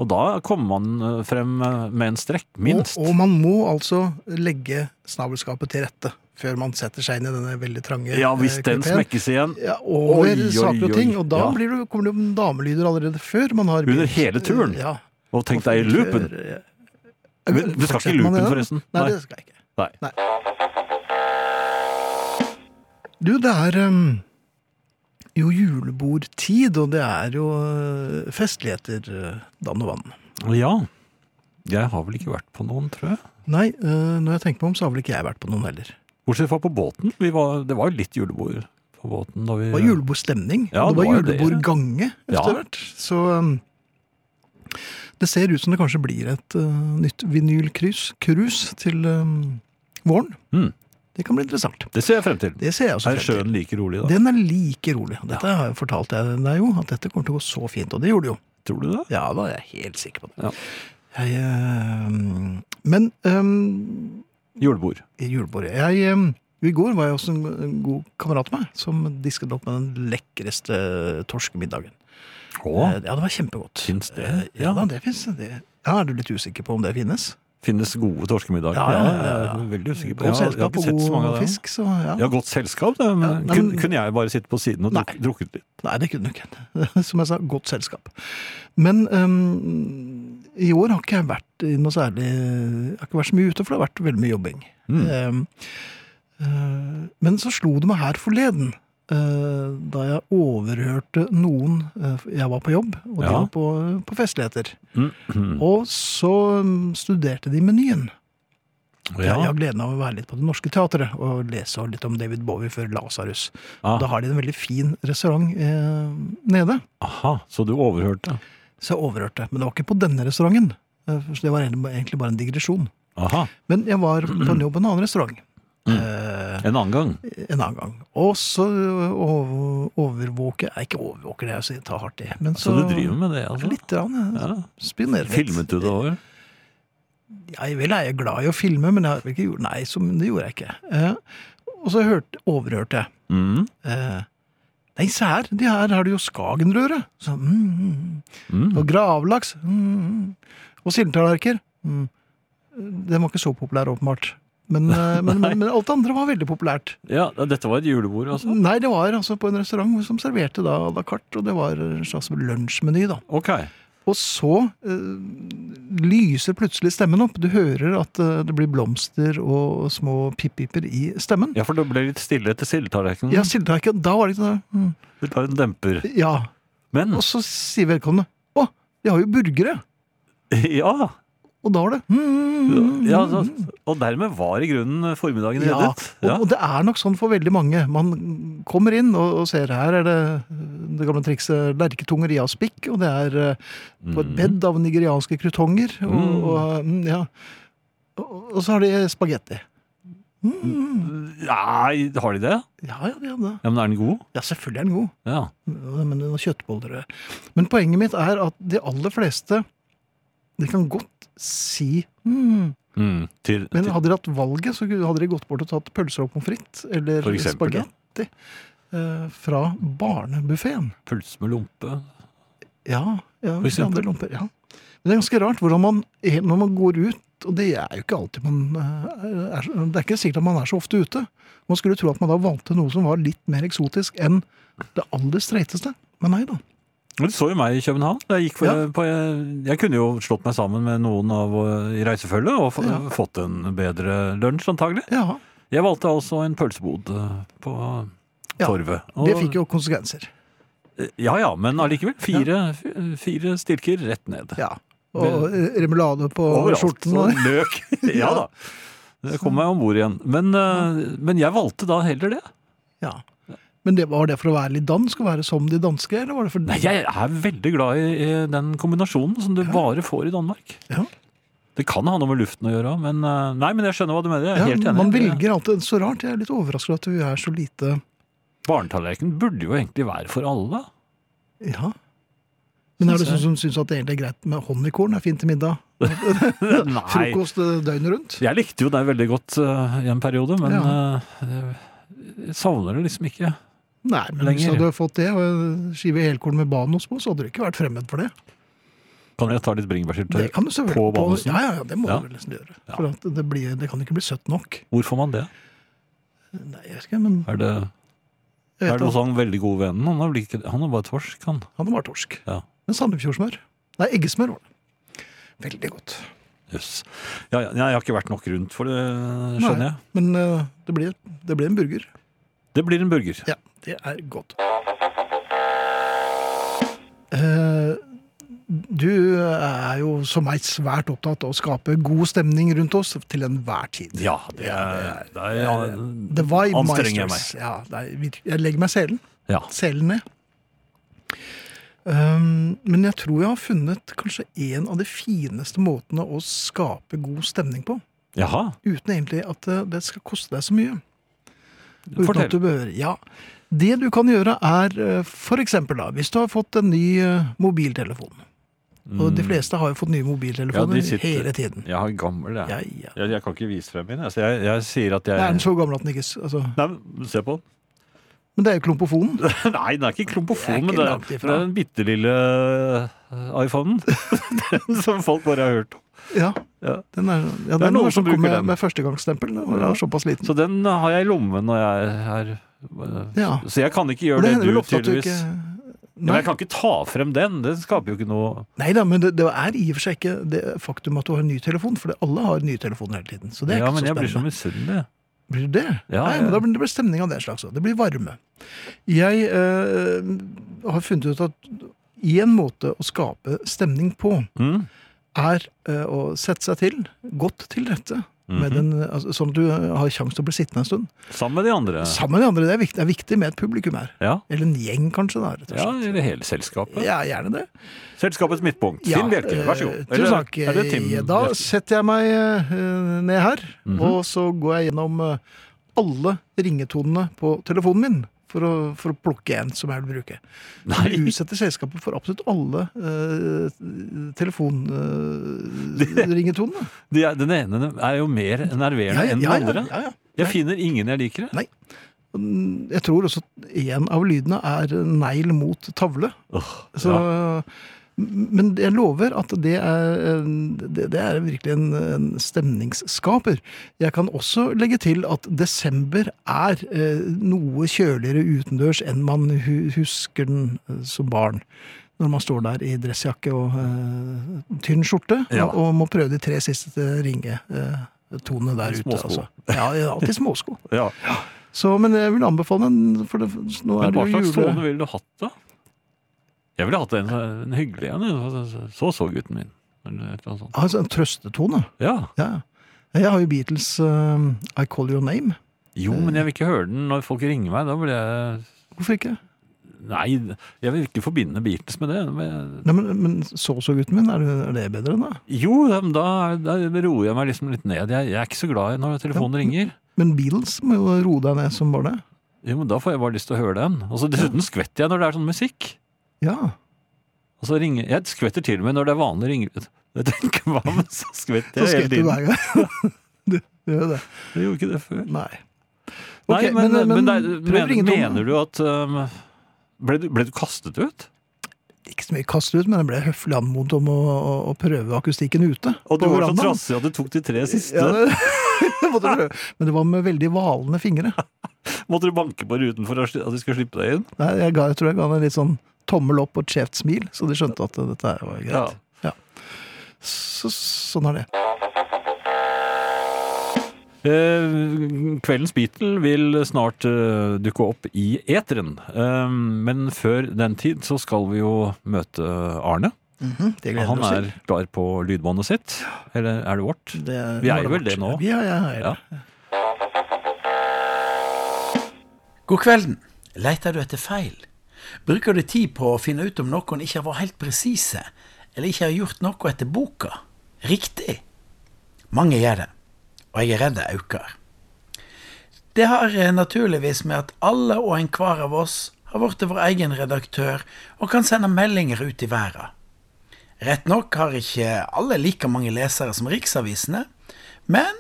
[SPEAKER 2] og da kommer man eh, frem eh, med en strekk, minst.
[SPEAKER 1] Og, og man må altså legge snabelskapet til rette før man setter seg inn i denne veldig trange
[SPEAKER 2] ja, hvis
[SPEAKER 1] eh,
[SPEAKER 2] den
[SPEAKER 1] kupeen.
[SPEAKER 2] smekkes igjen
[SPEAKER 1] ja, over
[SPEAKER 2] Oi, oi,
[SPEAKER 1] saker og ting.
[SPEAKER 2] oi.
[SPEAKER 1] Og da
[SPEAKER 2] Ja.
[SPEAKER 1] blir du, kommer det jo damelyder allerede før man har
[SPEAKER 2] Under
[SPEAKER 1] begynt.
[SPEAKER 2] hele turen?
[SPEAKER 1] Ja.
[SPEAKER 2] Og tenk deg i loopen!
[SPEAKER 1] Før, eh,
[SPEAKER 2] Men du skal ikke i
[SPEAKER 1] fortsetter man
[SPEAKER 2] loopen,
[SPEAKER 1] det da?
[SPEAKER 2] forresten.
[SPEAKER 1] Nei,
[SPEAKER 2] Nei.
[SPEAKER 1] det skal jeg ikke.
[SPEAKER 2] Nei.
[SPEAKER 1] Du, det er ehm, jo julebordtid, og det er jo eh, festligheter, eh, dann og vann.
[SPEAKER 2] Og Ja. Jeg har vel ikke vært på noen, tror jeg.
[SPEAKER 1] Nei, eh, når jeg tenker meg om, så har vel ikke jeg vært på noen heller.
[SPEAKER 2] Bortsett fra på båten. Vi var, det var jo litt julebord på båten da vi
[SPEAKER 1] Det var julebordstemning,
[SPEAKER 2] Ja,
[SPEAKER 1] og det var
[SPEAKER 2] det var jo det.
[SPEAKER 1] julebordgange
[SPEAKER 2] Ja.
[SPEAKER 1] etter hvert. Så ehm, det ser ut som det kanskje blir et eh, nytt vinylkrus krus til ehm, våren.
[SPEAKER 2] Mm.
[SPEAKER 1] Det kan bli interessant.
[SPEAKER 2] Det ser jeg frem til.
[SPEAKER 1] Det ser jeg også
[SPEAKER 2] Er
[SPEAKER 1] frem til.
[SPEAKER 2] sjøen like rolig da?
[SPEAKER 1] Den er like rolig. Dette har jeg fortalt deg jo, at dette kommer til å gå så fint. Og det gjorde det jo.
[SPEAKER 2] Tror du det?
[SPEAKER 1] Ja, da er jeg helt sikker på det.
[SPEAKER 2] Ja.
[SPEAKER 1] Jeg, eh, men um,
[SPEAKER 2] Julebord.
[SPEAKER 1] julebordet jeg, eh, I går var jeg også en, en god kamerat av meg som disket opp med den lekreste torskemiddagen.
[SPEAKER 2] Å,
[SPEAKER 1] Eh, Ja, det var kjempegodt.
[SPEAKER 2] Finnes det?
[SPEAKER 1] Eh, Ja,
[SPEAKER 2] Ja.
[SPEAKER 1] da, det fins. Ja, er du litt usikker på om det finnes?
[SPEAKER 2] finnes gode torskemiddager.
[SPEAKER 1] Ja, ja, ja, ja.
[SPEAKER 2] jeg er veldig usikker på
[SPEAKER 1] Godt
[SPEAKER 2] Jeg har-
[SPEAKER 1] selskap
[SPEAKER 2] Jeg har ikke sett
[SPEAKER 1] og
[SPEAKER 2] så mange
[SPEAKER 1] god
[SPEAKER 2] av dem.
[SPEAKER 1] fisk, så ja.
[SPEAKER 2] Ja, godt selskap. Det, men
[SPEAKER 1] Ja, nei,
[SPEAKER 2] kun,
[SPEAKER 1] men-
[SPEAKER 2] kunne jeg bare sitte på siden og
[SPEAKER 1] Nei.
[SPEAKER 2] druk, drukket litt?
[SPEAKER 1] Nei, det kunne du ikke. Som jeg sa, godt selskap. Men øhm, i år har ikke jeg vært i noe særlig Jeg har ikke vært så mye ute, for det har vært veldig mye jobbing.
[SPEAKER 2] Mm.
[SPEAKER 1] Ehm, øh, men så slo det meg her forleden, øh, da jeg overhørte noen øh, Jeg var på jobb, og de
[SPEAKER 2] Ja.
[SPEAKER 1] var på, på festligheter.
[SPEAKER 2] Mm, mm.
[SPEAKER 1] Og så øhm, studerte de menyen.
[SPEAKER 2] Ja.
[SPEAKER 1] Jeg har gleden av å være litt på Det Norske Teatret og lese litt om David Bowie før Lasarus. Da
[SPEAKER 2] Ah,
[SPEAKER 1] har de en veldig fin restaurant eh, nede.
[SPEAKER 2] aha, så du overhørte.
[SPEAKER 1] Så jeg overhørte. Men det var ikke på denne restauranten. Eh, Så det var egentlig bare en digresjon.
[SPEAKER 2] Aha,
[SPEAKER 1] Men jeg var på en jobb på en annen restaurant eh,
[SPEAKER 2] En annen gang.
[SPEAKER 1] en annen gang. Og så eh, over- overvåker Jeg ikke overvåker det, jeg tar hardt i. Men
[SPEAKER 2] Så, du driver med det, altså?
[SPEAKER 1] Litt. Rann, jeg
[SPEAKER 2] Ja.
[SPEAKER 1] Spionerer litt.
[SPEAKER 2] Filmet du det over?
[SPEAKER 1] Jeg vel er jeg glad i å filme, men jeg har ikke gjort Nei, så, det gjorde jeg ikke. Eh, og så hørte, overhørte jeg.
[SPEAKER 2] Mm.
[SPEAKER 1] Eh, nei, se her, de her har du jo Skagenrøre. Så, mm, mm, mm. Og gravlaks. Mm, mm. Og sildetallerkener. Mm. Den var ikke så populær, åpenbart. Men, eh, men, men, men alt det andre var veldig populært.
[SPEAKER 2] Ja, dette var et julebord, altså?
[SPEAKER 1] Nei, det var altså på en restaurant som serverte da à la carte, og det var en slags lunsjmeny, da.
[SPEAKER 2] Ok.
[SPEAKER 1] Og så eh, lyser plutselig stemmen opp. Du hører at eh, det blir blomster og små pippiper i stemmen.
[SPEAKER 2] Ja, for det ble litt stille etter sildetallerkenen.
[SPEAKER 1] Ja, sildetallerken. Da var det ikke noe mm.
[SPEAKER 2] Du tar en demper.
[SPEAKER 1] Ja.
[SPEAKER 2] Men
[SPEAKER 1] Og så sier vedkommende Å, de har jo burgere!
[SPEAKER 2] ja!
[SPEAKER 1] Og da var det mm,
[SPEAKER 2] ja så, og dermed var i grunnen formiddagen
[SPEAKER 1] ja.
[SPEAKER 2] reddet.
[SPEAKER 1] Og,
[SPEAKER 2] Ja.
[SPEAKER 1] og det er nok sånn for veldig mange. Man kommer inn og, og ser her er det eh, det gamle trikset lerketungeri av spikk, og det er eh, på et bed av nigerianske krutonger. Og,
[SPEAKER 2] Mm.
[SPEAKER 1] og, mm, ja. og, og så har de eh, spagetti. Mm.
[SPEAKER 2] Nei, har de det?
[SPEAKER 1] Ja, ja, de hadde.
[SPEAKER 2] Ja, Men er den god?
[SPEAKER 1] ja, selvfølgelig er den god.
[SPEAKER 2] Ja.
[SPEAKER 1] Men det var kjøttboller og- Men poenget mitt er at de aller fleste de kan godt si mm.
[SPEAKER 2] Mm. Til,
[SPEAKER 1] Men
[SPEAKER 2] til,
[SPEAKER 1] hadde de hatt valget, så hadde de gått bort og tatt pølser og pommes frites eller
[SPEAKER 2] For eksempel, ja.
[SPEAKER 1] spagetti eh, fra barnebuffeen.
[SPEAKER 2] pølse med lompe.
[SPEAKER 1] Ja, ja,
[SPEAKER 2] For
[SPEAKER 1] de
[SPEAKER 2] eksempel.
[SPEAKER 1] andre lomper, ja. Men det er ganske rart hvordan man er når man går ut og det er jo ikke alltid man eh, er, Det er ikke sikkert at man er så ofte ute. Man skulle tro at man da valgte noe som var litt mer eksotisk enn det aller streiteste. Men nei da.
[SPEAKER 2] Men Du så jo meg i København. Jeg, gikk for,
[SPEAKER 1] Ja.
[SPEAKER 2] på, jeg, jeg kunne jo slått meg sammen med noen av, eh, i reisefølget og få-
[SPEAKER 1] Ja.
[SPEAKER 2] fått en bedre lunsj, antagelig.
[SPEAKER 1] Ja,
[SPEAKER 2] Jeg valgte altså en pølsebod eh, på
[SPEAKER 1] Ja,
[SPEAKER 2] Torvet.
[SPEAKER 1] Det fikk jo konsekvenser.
[SPEAKER 2] Ja ja, men allikevel. Fire, f- fire stilker rett ned.
[SPEAKER 1] Ja. Og eh, remulade på skjorten.
[SPEAKER 2] Og
[SPEAKER 1] Og,
[SPEAKER 2] løk. ja da. Jeg kom meg om bord igjen. Men, eh, men jeg valgte da heller det.
[SPEAKER 1] ja. Men det, var det for å være litt dansk og være som de danske, eller var det for
[SPEAKER 2] Nei, jeg er veldig glad i, i den kombinasjonen som du bare får i Danmark.
[SPEAKER 1] Ja.
[SPEAKER 2] Det kan ha noe med luften å gjøre, men eh, Nei, men jeg skjønner hva du mener. Jeg er
[SPEAKER 1] Ja,
[SPEAKER 2] helt enig.
[SPEAKER 1] man velger alltid så rart. Jeg er litt overrasket at vi er så lite
[SPEAKER 2] Barnetallerken burde jo egentlig være for alle.
[SPEAKER 1] Ja. Men er det
[SPEAKER 2] Synes jeg.
[SPEAKER 1] sånn som syns at det egentlig er greit med honningkorn er fint til middag?
[SPEAKER 2] nei.
[SPEAKER 1] Frokost eh, døgnet rundt?
[SPEAKER 2] Jeg likte jo deg veldig godt eh, i en periode, men
[SPEAKER 1] Ja.
[SPEAKER 2] eh, jeg savner det liksom ikke.
[SPEAKER 1] Nei, men hvis
[SPEAKER 2] Lenger.
[SPEAKER 1] du hadde fått det, og en skive helkorn med banos på, så hadde du ikke vært fremmed for det.
[SPEAKER 2] Kan jeg ta litt
[SPEAKER 1] Det
[SPEAKER 2] bringebærsyltetøy?
[SPEAKER 1] kan du selvfølgelig
[SPEAKER 2] På banosen?
[SPEAKER 1] Ja, ja, ja, det må
[SPEAKER 2] Ja.
[SPEAKER 1] du vel nesten gjøre.
[SPEAKER 2] Ja.
[SPEAKER 1] For at det, blir, det kan ikke bli søtt nok.
[SPEAKER 2] Hvor får man det?
[SPEAKER 1] Nei, jeg vet ikke, men
[SPEAKER 2] Er det,
[SPEAKER 1] jeg vet
[SPEAKER 2] er det sånn?
[SPEAKER 1] at
[SPEAKER 2] hos han veldig gode vennen? Han er, vel ikke, han er bare torsk, han.
[SPEAKER 1] han var torsk.
[SPEAKER 2] Ja.
[SPEAKER 1] Men Sandefjordsmør. Nei, eggesmør var det. Veldig godt.
[SPEAKER 2] Jøss. Ja, ja, nei, jeg har ikke vært nok rundt for det, skjønner jeg.
[SPEAKER 1] Nei, Men eh, det blir, det blir en burger.
[SPEAKER 2] Det blir en burger.
[SPEAKER 1] Ja, det er godt. Eh, du er jo som meg svært opptatt av å skape god stemning rundt oss til enhver tid.
[SPEAKER 2] Ja, det er, det er, ja,
[SPEAKER 1] The vibe
[SPEAKER 2] Anstrenger jeg
[SPEAKER 1] meisters. Ja, det er, virk- jeg legger meg selen.
[SPEAKER 2] ja.
[SPEAKER 1] Selen ned. Um, men jeg tror jeg har funnet kanskje en av de fineste måtene å skape god stemning på.
[SPEAKER 2] Jaha,
[SPEAKER 1] Uten egentlig at eh, det skal koste deg så mye. Uten at
[SPEAKER 2] fortell.
[SPEAKER 1] du behøver, ja. Det du kan gjøre er eh, for eksempel da, hvis du har fått en ny eh, mobiltelefon. Og de fleste har jo fått nye mobiltelefoner
[SPEAKER 2] Mm. Ja, de sitter-
[SPEAKER 1] hele tiden.
[SPEAKER 2] Jeg er gammel, jeg.
[SPEAKER 1] Ja,
[SPEAKER 2] Jeg,
[SPEAKER 1] ja.
[SPEAKER 2] jeg kan ikke vise frem min. Altså, jeg, jeg sier at
[SPEAKER 1] Er
[SPEAKER 2] jeg
[SPEAKER 1] den så gammel at den ikke s- altså.
[SPEAKER 2] Nei, men se på den.
[SPEAKER 1] Men det er jo klumpofonen.
[SPEAKER 2] Nei, den er ikke
[SPEAKER 1] Det er
[SPEAKER 2] klompofon, men
[SPEAKER 1] ikke
[SPEAKER 2] det er,
[SPEAKER 1] langt
[SPEAKER 2] det
[SPEAKER 1] ifra.
[SPEAKER 2] er den bitte lille iPhonen. den eh, som folk bare har hørt om.
[SPEAKER 1] Ja,
[SPEAKER 2] Ja.
[SPEAKER 1] den er, ja,
[SPEAKER 2] Det er
[SPEAKER 1] den
[SPEAKER 2] noen
[SPEAKER 1] er
[SPEAKER 2] som
[SPEAKER 1] som kom
[SPEAKER 2] bruker
[SPEAKER 1] med,
[SPEAKER 2] den.
[SPEAKER 1] med førstegangsstempel. Den
[SPEAKER 2] Ja.
[SPEAKER 1] er såpass liten.
[SPEAKER 2] Så den har jeg i lommen når jeg er eh,
[SPEAKER 1] Ja.
[SPEAKER 2] Så jeg kan
[SPEAKER 1] Og
[SPEAKER 2] ikke gjøre
[SPEAKER 1] det
[SPEAKER 2] det,
[SPEAKER 1] hender
[SPEAKER 2] du
[SPEAKER 1] vel ofte at du
[SPEAKER 2] tydeligvis
[SPEAKER 1] ikke
[SPEAKER 2] Men
[SPEAKER 1] Nei.
[SPEAKER 2] jeg kan ikke ta frem den. Det skaper jo ikke noe
[SPEAKER 1] Nei da, men det, det er i og for seg ikke det faktum at du har en ny telefon, for det, alle har nye telefoner hele tiden. Så det er
[SPEAKER 2] Ja,
[SPEAKER 1] ikke
[SPEAKER 2] men
[SPEAKER 1] så
[SPEAKER 2] jeg blir så
[SPEAKER 1] spennende.
[SPEAKER 2] misunnelig.
[SPEAKER 1] Blir du det?
[SPEAKER 2] Ja,
[SPEAKER 1] Nei,
[SPEAKER 2] ja.
[SPEAKER 1] men da blir det blir stemning av den slags. også. Det blir varme. Jeg eh, har funnet ut at én måte å skape stemning på,
[SPEAKER 2] Mm.
[SPEAKER 1] er eh, å sette seg til, godt til rette,
[SPEAKER 2] Mhm.
[SPEAKER 1] med den, altså, sånn at du eh, har sjanse til å bli sittende en stund.
[SPEAKER 2] Sammen med de andre.
[SPEAKER 1] Sammen med de andre. Det er viktig, det er viktig med et publikum her.
[SPEAKER 2] Ja.
[SPEAKER 1] Eller en gjeng, kanskje. da, rett og
[SPEAKER 2] ja,
[SPEAKER 1] slett.
[SPEAKER 2] eller hele selskapet.
[SPEAKER 1] Ja, gjerne det.
[SPEAKER 2] Selskapets midtpunkt.
[SPEAKER 1] Ja,
[SPEAKER 2] Finn Bjelke, vær så
[SPEAKER 1] eh,
[SPEAKER 2] god.
[SPEAKER 1] Tusen takk.
[SPEAKER 2] Er det Tim? Mhm.
[SPEAKER 1] Eh, Da
[SPEAKER 2] Bjelke?
[SPEAKER 1] setter jeg meg eh, ned her, og så går jeg gjennom eh, alle ringetonene på telefonen min. For å, for å plukke en som jeg vil bruke. Så
[SPEAKER 2] Nei.
[SPEAKER 1] Vi utsetter selskapet for absolutt alle uh, eh, telefonringetonene.
[SPEAKER 2] De er, den ene er jo mer nerverende enn den andre.
[SPEAKER 1] ja, ja.
[SPEAKER 2] Jeg finner ingen jeg liker.
[SPEAKER 1] Nei. Jeg tror også en av lydene er negl mot tavle.
[SPEAKER 2] Åh,
[SPEAKER 1] Så,
[SPEAKER 2] ja.
[SPEAKER 1] Men jeg lover at det er, en- det, det er virkelig en, en stemningsskaper. Jeg kan også legge til at desember er eh, noe kjøligere utendørs enn man hu husker den eh, som barn. Når man står der i dressjakke og eh, tynn skjorte
[SPEAKER 2] Ja.
[SPEAKER 1] og, og må prøve de tre siste ringetonene der ute.
[SPEAKER 2] Småsko.
[SPEAKER 1] Altså. Ja, ja, alltid småsko.
[SPEAKER 2] Ja.
[SPEAKER 1] Så, men jeg vil anbefale den, for det, nå er
[SPEAKER 2] Men hva
[SPEAKER 1] det jo
[SPEAKER 2] slags
[SPEAKER 1] jule...
[SPEAKER 2] tone ville du hatt, da? Jeg ville hatt en, en hyggelig en. jeg. Altså, Så så gutten min. Eller et eller annet sånt.
[SPEAKER 1] Altså, en trøstetone.
[SPEAKER 2] Ja.
[SPEAKER 1] Ja. Jeg har jo Beatles eh, I Call Your Name.
[SPEAKER 2] Jo, men jeg vil ikke høre den når folk ringer meg. Da blir jeg
[SPEAKER 1] Hvorfor ikke?
[SPEAKER 2] Nei, jeg vil ikke forbinde Beatles med det. Men...
[SPEAKER 1] Nei, men, men så så gutten min, er det, er det bedre enn det?
[SPEAKER 2] Jo, da, da da roer jeg meg liksom litt ned. Jeg, jeg er ikke så glad i når telefonen ringer.
[SPEAKER 1] Men Beatles må jo roe deg ned som bare det.
[SPEAKER 2] Jo, men Da får jeg bare lyst til å høre den. Og så Dessuten skvetter jeg når det er sånn musikk.
[SPEAKER 1] Ja.
[SPEAKER 2] Og så ringer, Jeg skvetter til og med når det er vanlig ringelyd. Jeg tenker, hva, men så skvetter
[SPEAKER 1] Så
[SPEAKER 2] jeg
[SPEAKER 1] skvetter
[SPEAKER 2] hele
[SPEAKER 1] du
[SPEAKER 2] tiden.
[SPEAKER 1] hver gang. Du gjør jo det.
[SPEAKER 2] Jeg gjorde ikke det før.
[SPEAKER 1] Nei.
[SPEAKER 2] Nei,
[SPEAKER 1] Ok,
[SPEAKER 2] men, men, det er-
[SPEAKER 1] prøv
[SPEAKER 2] mener,
[SPEAKER 1] ringetonen.
[SPEAKER 2] mener du at um, ble, du, ble du kastet ut?
[SPEAKER 1] Ikke så mye kast ut, men jeg ble høflig anmodet om å, å, å prøve akustikken ute.
[SPEAKER 2] Og du
[SPEAKER 1] på
[SPEAKER 2] var så
[SPEAKER 1] verandaen.
[SPEAKER 2] trassig at du tok de tre siste.
[SPEAKER 1] Ja, det- det måtte du prøve. Men det var med veldig hvalende fingre.
[SPEAKER 2] Måtte du banke på ruten for å sli- at de skulle slippe deg inn?
[SPEAKER 1] Nei, jeg, ga, jeg tror jeg ga han en litt sånn tommel opp og et skjevt smil, så de skjønte at dette her var greit.
[SPEAKER 2] Ja.
[SPEAKER 1] Så, sånn er det.
[SPEAKER 2] Eh, Kveldens Beatle vil snart eh, dukke opp i eteren. Eh, men før den tid så skal vi jo møte eh, Arne.
[SPEAKER 1] Det gleder
[SPEAKER 2] Han
[SPEAKER 1] vi oss
[SPEAKER 2] er klar på lydbåndet sitt. Eller er det vårt?
[SPEAKER 1] til. Det,
[SPEAKER 2] Vi er
[SPEAKER 1] nå
[SPEAKER 2] jo vel det nå.
[SPEAKER 1] Ja, ja, ja.
[SPEAKER 2] Ja.
[SPEAKER 4] God kvelden. Leiter du etter feil? Bruker du tid på å finne ut om noen ikke har vært helt presise, eller ikke har gjort noe etter boka? Riktig. Mange gjør det, og jeg er redd det øker. Det har eh, naturligvis med at alle og enhver av oss har blitt vår egen redaktør og kan sende meldinger ut i verden. Rett nok har ikke alle like mange lesere som riksavisene, men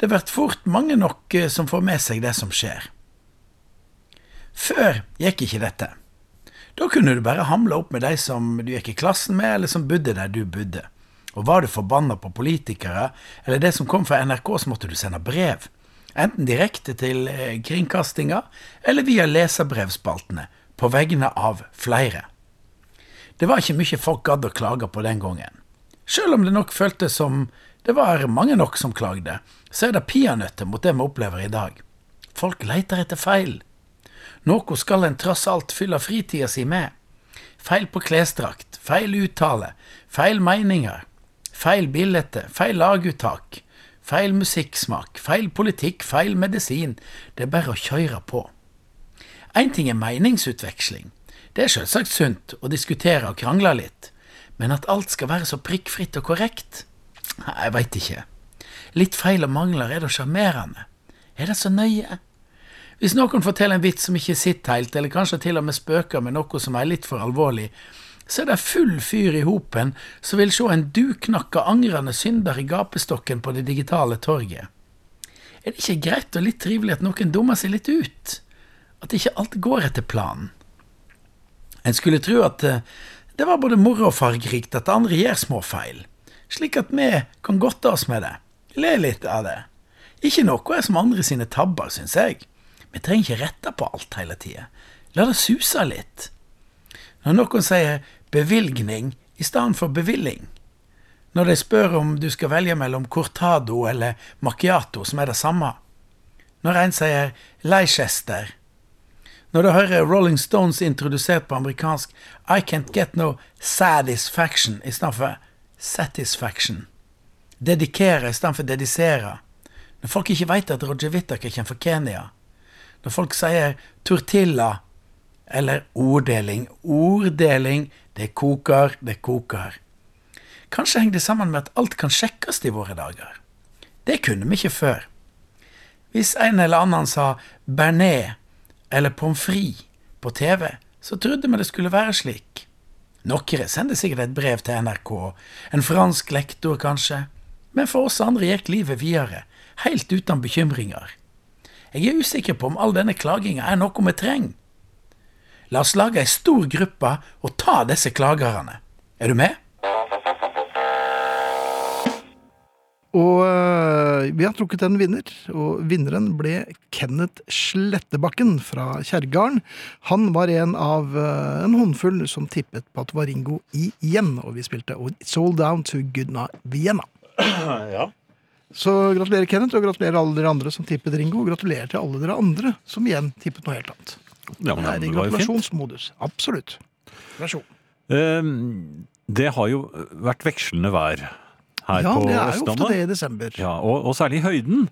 [SPEAKER 4] det blir fort mange nok eh, som får med seg det som skjer. Før gikk ikke dette. Da kunne du bare hamle opp med de som du gikk i klassen med, eller som bodde der du bodde. Og var du forbanna på politikere, eller det som kom fra NRK, så måtte du sende brev. Enten direkte til eh, kringkastinga, eller via leserbrevspaltene, på vegne av flere. Det var ikke mye folk gadd å klage på den gangen. Selv om det nok føltes som det var mange nok som klagde, så er det peanøtter mot det vi opplever i dag. Folk leiter etter feil. Noe skal en tross alt fylle fritida si med. Feil på klesdrakt, feil uttale, feil meninger, feil bilde, feil laguttak, feil musikksmak, feil politikk, feil medisin. Det er bare å kjøre på. Én ting er meningsutveksling. Det er selvsagt sunt å diskutere og krangle litt. Men at alt skal være så prikkfritt og korrekt? Nei, Jeg veit ikke. Litt feil og mangler er da sjarmerende. Er det så nøye? Hvis noen forteller en vits som ikke sitter helt, eller kanskje til og med spøker med noe som er litt for alvorlig, så er det full fyr i hopen som vil se en duknakka angrende synder i gapestokken på det digitale torget. Er det ikke greit og litt trivelig at noen dummer seg litt ut? At ikke alt går etter planen? En skulle tro at eh, det var både moro og fargerikt at andre gjør småfeil. slik at vi kan godte oss med det. Le litt av det. Ikke noe er som andre sine tabber, syns jeg. Vi trenger ikke rette på alt hele tida. La det suse litt. Når noen sier bevilgning i stedet for bevilling, når de spør om du skal velge mellom cortado eller macchiato, som er det samme, når en sier Leicester, når du hører Rolling Stones introdusert på amerikansk I can't get no satisfaction i stedet for satisfaction. Dedikere i stedet for dedisere. Når folk ikke veit at Roger Whittaker kommer fra Kenya. Når folk sier tortilla eller orddeling. Orddeling, det koker, det koker. Kanskje henger det sammen med at alt kan sjekkes i våre dager. Det kunne vi ikke før. Hvis en eller annen sa bearnés eller pommes frites på TV, så trodde vi det skulle være slik. Noen sender sikkert et brev til NRK, en fransk lektor kanskje, men for oss andre gikk livet videre, helt uten bekymringer. Jeg er usikker på om all denne klaginga er noe vi trenger. La oss lage ei stor gruppe og ta disse klagerne. Er du med?
[SPEAKER 1] Og øh, vi har trukket en vinner, og vinneren ble Kenneth Slettebakken fra Kjerrgarden. Han var en av øh, en håndfull som tippet på at det var Ringo igjen, og vi spilte og It's All Down to Goodna Vienna.
[SPEAKER 2] Ja.
[SPEAKER 1] Så gratulerer Kenneth, og gratulerer alle dere andre som tippet Ringo, og gratulerer til alle dere andre som igjen tippet noe helt annet. Det
[SPEAKER 2] ja, men
[SPEAKER 1] er
[SPEAKER 2] det
[SPEAKER 1] i
[SPEAKER 2] var jo fint.
[SPEAKER 1] gratulasjonsmodus. Absolutt. Gratulasjon.
[SPEAKER 2] Ehm, Det har jo vært vekslende vær her
[SPEAKER 1] Ja,
[SPEAKER 2] på
[SPEAKER 1] det er jo ofte
[SPEAKER 2] Østlandet.
[SPEAKER 1] det i desember.
[SPEAKER 2] Ja, og, og særlig i høyden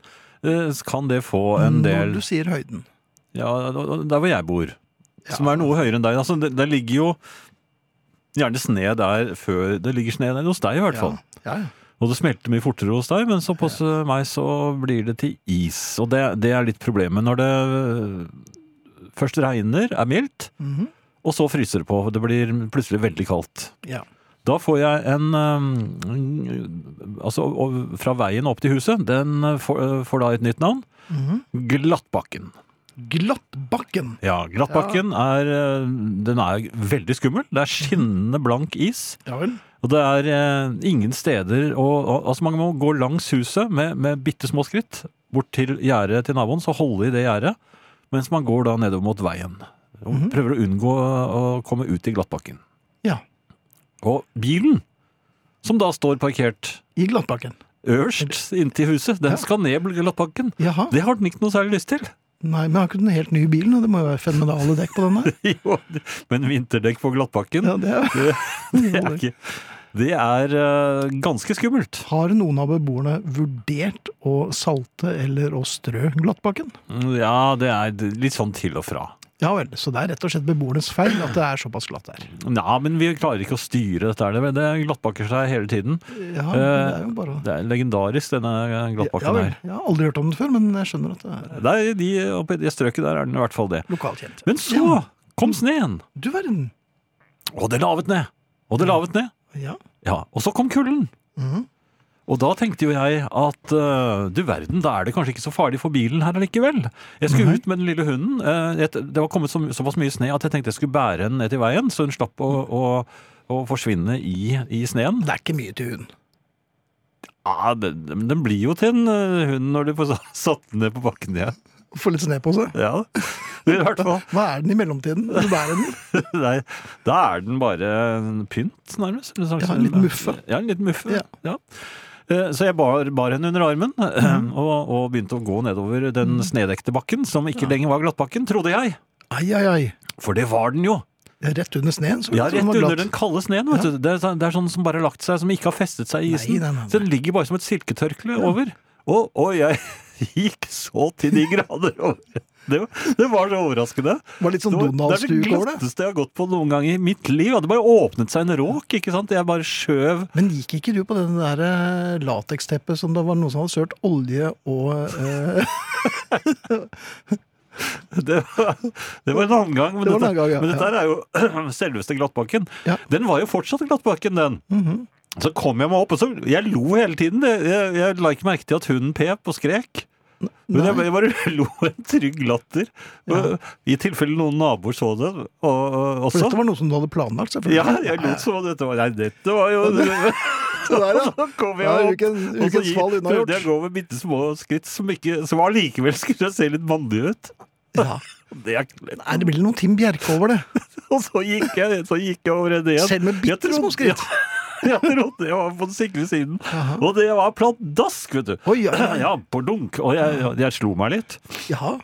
[SPEAKER 2] eh, kan det få en
[SPEAKER 1] Når
[SPEAKER 2] del
[SPEAKER 1] du sier høyden.
[SPEAKER 2] Ja, der hvor jeg bor. Som er noe høyere enn deg. Altså, det, det ligger jo gjerne sne der før Det ligger sne der hos deg, i hvert fall.
[SPEAKER 1] Ja, ja.
[SPEAKER 2] Og det smelter mye fortere hos deg, men så hos eh, meg så blir det til is. Og det, det er litt problemet når det eh, først regner, er mildt,
[SPEAKER 1] Mhm.
[SPEAKER 2] og så fryser det på. Det blir plutselig veldig kaldt.
[SPEAKER 1] ja.
[SPEAKER 2] Da får jeg en eh, Altså og- fra veien opp til huset, den eh, får, eh, får da et nytt navn. Glattbakken.
[SPEAKER 1] Glattbakken.
[SPEAKER 2] Ja, Glattbakken er eh, Den er veldig skummel. Det er skinnende blank is.
[SPEAKER 1] Ja vel.
[SPEAKER 2] Og det er eh, ingen steder og, og, Altså, man må gå langs huset med, med bitte små skritt bort til gjerdet til naboen, så holde i det gjerdet, mens man går da nedover mot veien. Og Prøver å unngå å komme ut i glattbakken.
[SPEAKER 1] Ja.
[SPEAKER 2] Og bilen, som da står parkert
[SPEAKER 1] I Glattbakken.
[SPEAKER 2] øverst inntil huset. Den
[SPEAKER 1] Ja.
[SPEAKER 2] skal ned glattbakken.
[SPEAKER 1] Jaha.
[SPEAKER 2] Det har den ikke noe særlig lyst til.
[SPEAKER 1] Nei, men har ikke den helt ny bilen? og Det må jo være fenomenale dekk på den der.
[SPEAKER 2] Jo, Men vinterdekk på glattbakken,
[SPEAKER 1] Ja, det er...
[SPEAKER 2] det er ikke Det er eh, ganske skummelt.
[SPEAKER 1] Har noen av beboerne vurdert å salte eller å strø Glattbakken?
[SPEAKER 2] Mm, Ja, det er litt sånn til og fra.
[SPEAKER 1] Ja vel, så det er rett og slett beboernes feil at det er såpass glatt der.
[SPEAKER 2] Ja, men vi klarer ikke å styre dette. er Det det glattbakker seg hele tiden.
[SPEAKER 1] Ja, men det er jo bare...
[SPEAKER 2] Det er legendarisk, denne
[SPEAKER 1] Ja,
[SPEAKER 2] Eh, glattbakken
[SPEAKER 1] vel.
[SPEAKER 2] her.
[SPEAKER 1] Jeg har aldri hørt om den før, men jeg skjønner at det er
[SPEAKER 2] Det er de, oppe i det strøket der er den i hvert fall det.
[SPEAKER 1] lokalt kjent.
[SPEAKER 2] Men
[SPEAKER 1] Ja,
[SPEAKER 2] så kom sneen!
[SPEAKER 1] du verden.
[SPEAKER 2] Og det lavet ned! Og det lavet ned!
[SPEAKER 1] Ja.
[SPEAKER 2] Ja, Og så kom kulden!
[SPEAKER 1] Mhm.
[SPEAKER 2] Og da tenkte jo jeg at eh, du verden, da er det kanskje ikke så farlig for bilen her allikevel. Jeg skulle
[SPEAKER 1] Mhm.
[SPEAKER 2] ut med den lille hunden. eh, et, det var kommet så, såpass mye sne at jeg tenkte jeg skulle bære den ned til veien, så hun slapp å, å, å forsvinne i, i sneen.
[SPEAKER 1] Det er ikke mye til hund.
[SPEAKER 2] Ja, den, men den blir jo til en eh, hund når du får sa- satt den ned på bakken igjen.
[SPEAKER 1] Få litt sne på seg.
[SPEAKER 2] Ja, i hvert fall.
[SPEAKER 1] Hva er den i mellomtiden? Du bærer den.
[SPEAKER 2] Nei, da er den bare en pynt, nærmest. Eller sånn-
[SPEAKER 1] Ja, en liten muffe.
[SPEAKER 2] Ja, en liten muffe.
[SPEAKER 1] Ja.
[SPEAKER 2] Ja. Eh, Så jeg bar, bar henne under armen
[SPEAKER 1] Mhm.
[SPEAKER 2] og, og begynte å gå nedover den snedekte bakken, som ikke lenger var glattbakken, trodde jeg.
[SPEAKER 1] Ai, ai, ai.
[SPEAKER 2] For det var den jo.
[SPEAKER 1] Rett under sneen, så
[SPEAKER 2] Ja,
[SPEAKER 1] vet du
[SPEAKER 2] Rett
[SPEAKER 1] om
[SPEAKER 2] under
[SPEAKER 1] glatt.
[SPEAKER 2] den kalde sneen. vet du. Det er, sånn- det er sånn som bare har lagt seg, som ikke har festet seg i
[SPEAKER 1] Nei,
[SPEAKER 2] isen.
[SPEAKER 1] nei, nei, nei.
[SPEAKER 2] Så den ligger bare som et silketørkle over. Og, og jeg gikk så til de grader over. Det, var- det var så overraskende.
[SPEAKER 1] Det var litt sånn
[SPEAKER 2] Det var-
[SPEAKER 1] Donald-stuk
[SPEAKER 2] Det er
[SPEAKER 1] over
[SPEAKER 2] det
[SPEAKER 1] det.
[SPEAKER 2] glatteste jeg har gått på noen gang i mitt liv. Det hadde bare åpnet seg en råk, ikke sant? Jeg bare skjøv.
[SPEAKER 1] Men gikk ikke du på den der eh, lateksteppet som det var noen som hadde sølt olje og eh,
[SPEAKER 2] Det var, det var en annen gang. Men,
[SPEAKER 1] Det var en
[SPEAKER 2] dette,
[SPEAKER 1] annen gang, ja.
[SPEAKER 2] men dette her er jo selveste glattbakken.
[SPEAKER 1] Ja. Mhm.
[SPEAKER 2] Den var jo fortsatt glattbakken, den. Så kom jeg meg opp, og så Jeg lo hele tiden. Jeg, jeg, jeg la ikke merke til at hunden pep og skrek. Men jeg, jeg bare lo en trygg latter. Og I tilfelle noen naboer så det og, og,
[SPEAKER 1] For
[SPEAKER 2] også.
[SPEAKER 1] dette var noe som du hadde planlagt, selvfølgelig.
[SPEAKER 2] Ja, jeg lot som om dette var Nei, dette var jo
[SPEAKER 1] Det der, ja.
[SPEAKER 2] Så kom jeg
[SPEAKER 1] Ja,
[SPEAKER 2] opp,
[SPEAKER 1] ukens-
[SPEAKER 2] og så
[SPEAKER 1] ukens
[SPEAKER 2] gi-
[SPEAKER 1] fall unnagjort.
[SPEAKER 2] prøvde jeg å gå med bitte små skritt som, ikke, som allikevel skulle se litt mandig ut.
[SPEAKER 1] Ja.
[SPEAKER 2] Det er ikke lett.
[SPEAKER 1] Nei, det blir noe Tim Bjerke over det.
[SPEAKER 2] Og så gikk jeg, så gikk jeg over en igjen.
[SPEAKER 1] Selv med bitte
[SPEAKER 2] Jeg trodde-
[SPEAKER 1] små skritt.
[SPEAKER 2] Ja, jeg trodde jeg var på den sikre siden. Og det var pladask, vet du.
[SPEAKER 1] Oi, oi, oi.
[SPEAKER 2] Ja, på dunk. Og jeg, jeg slo meg litt.
[SPEAKER 1] Ja.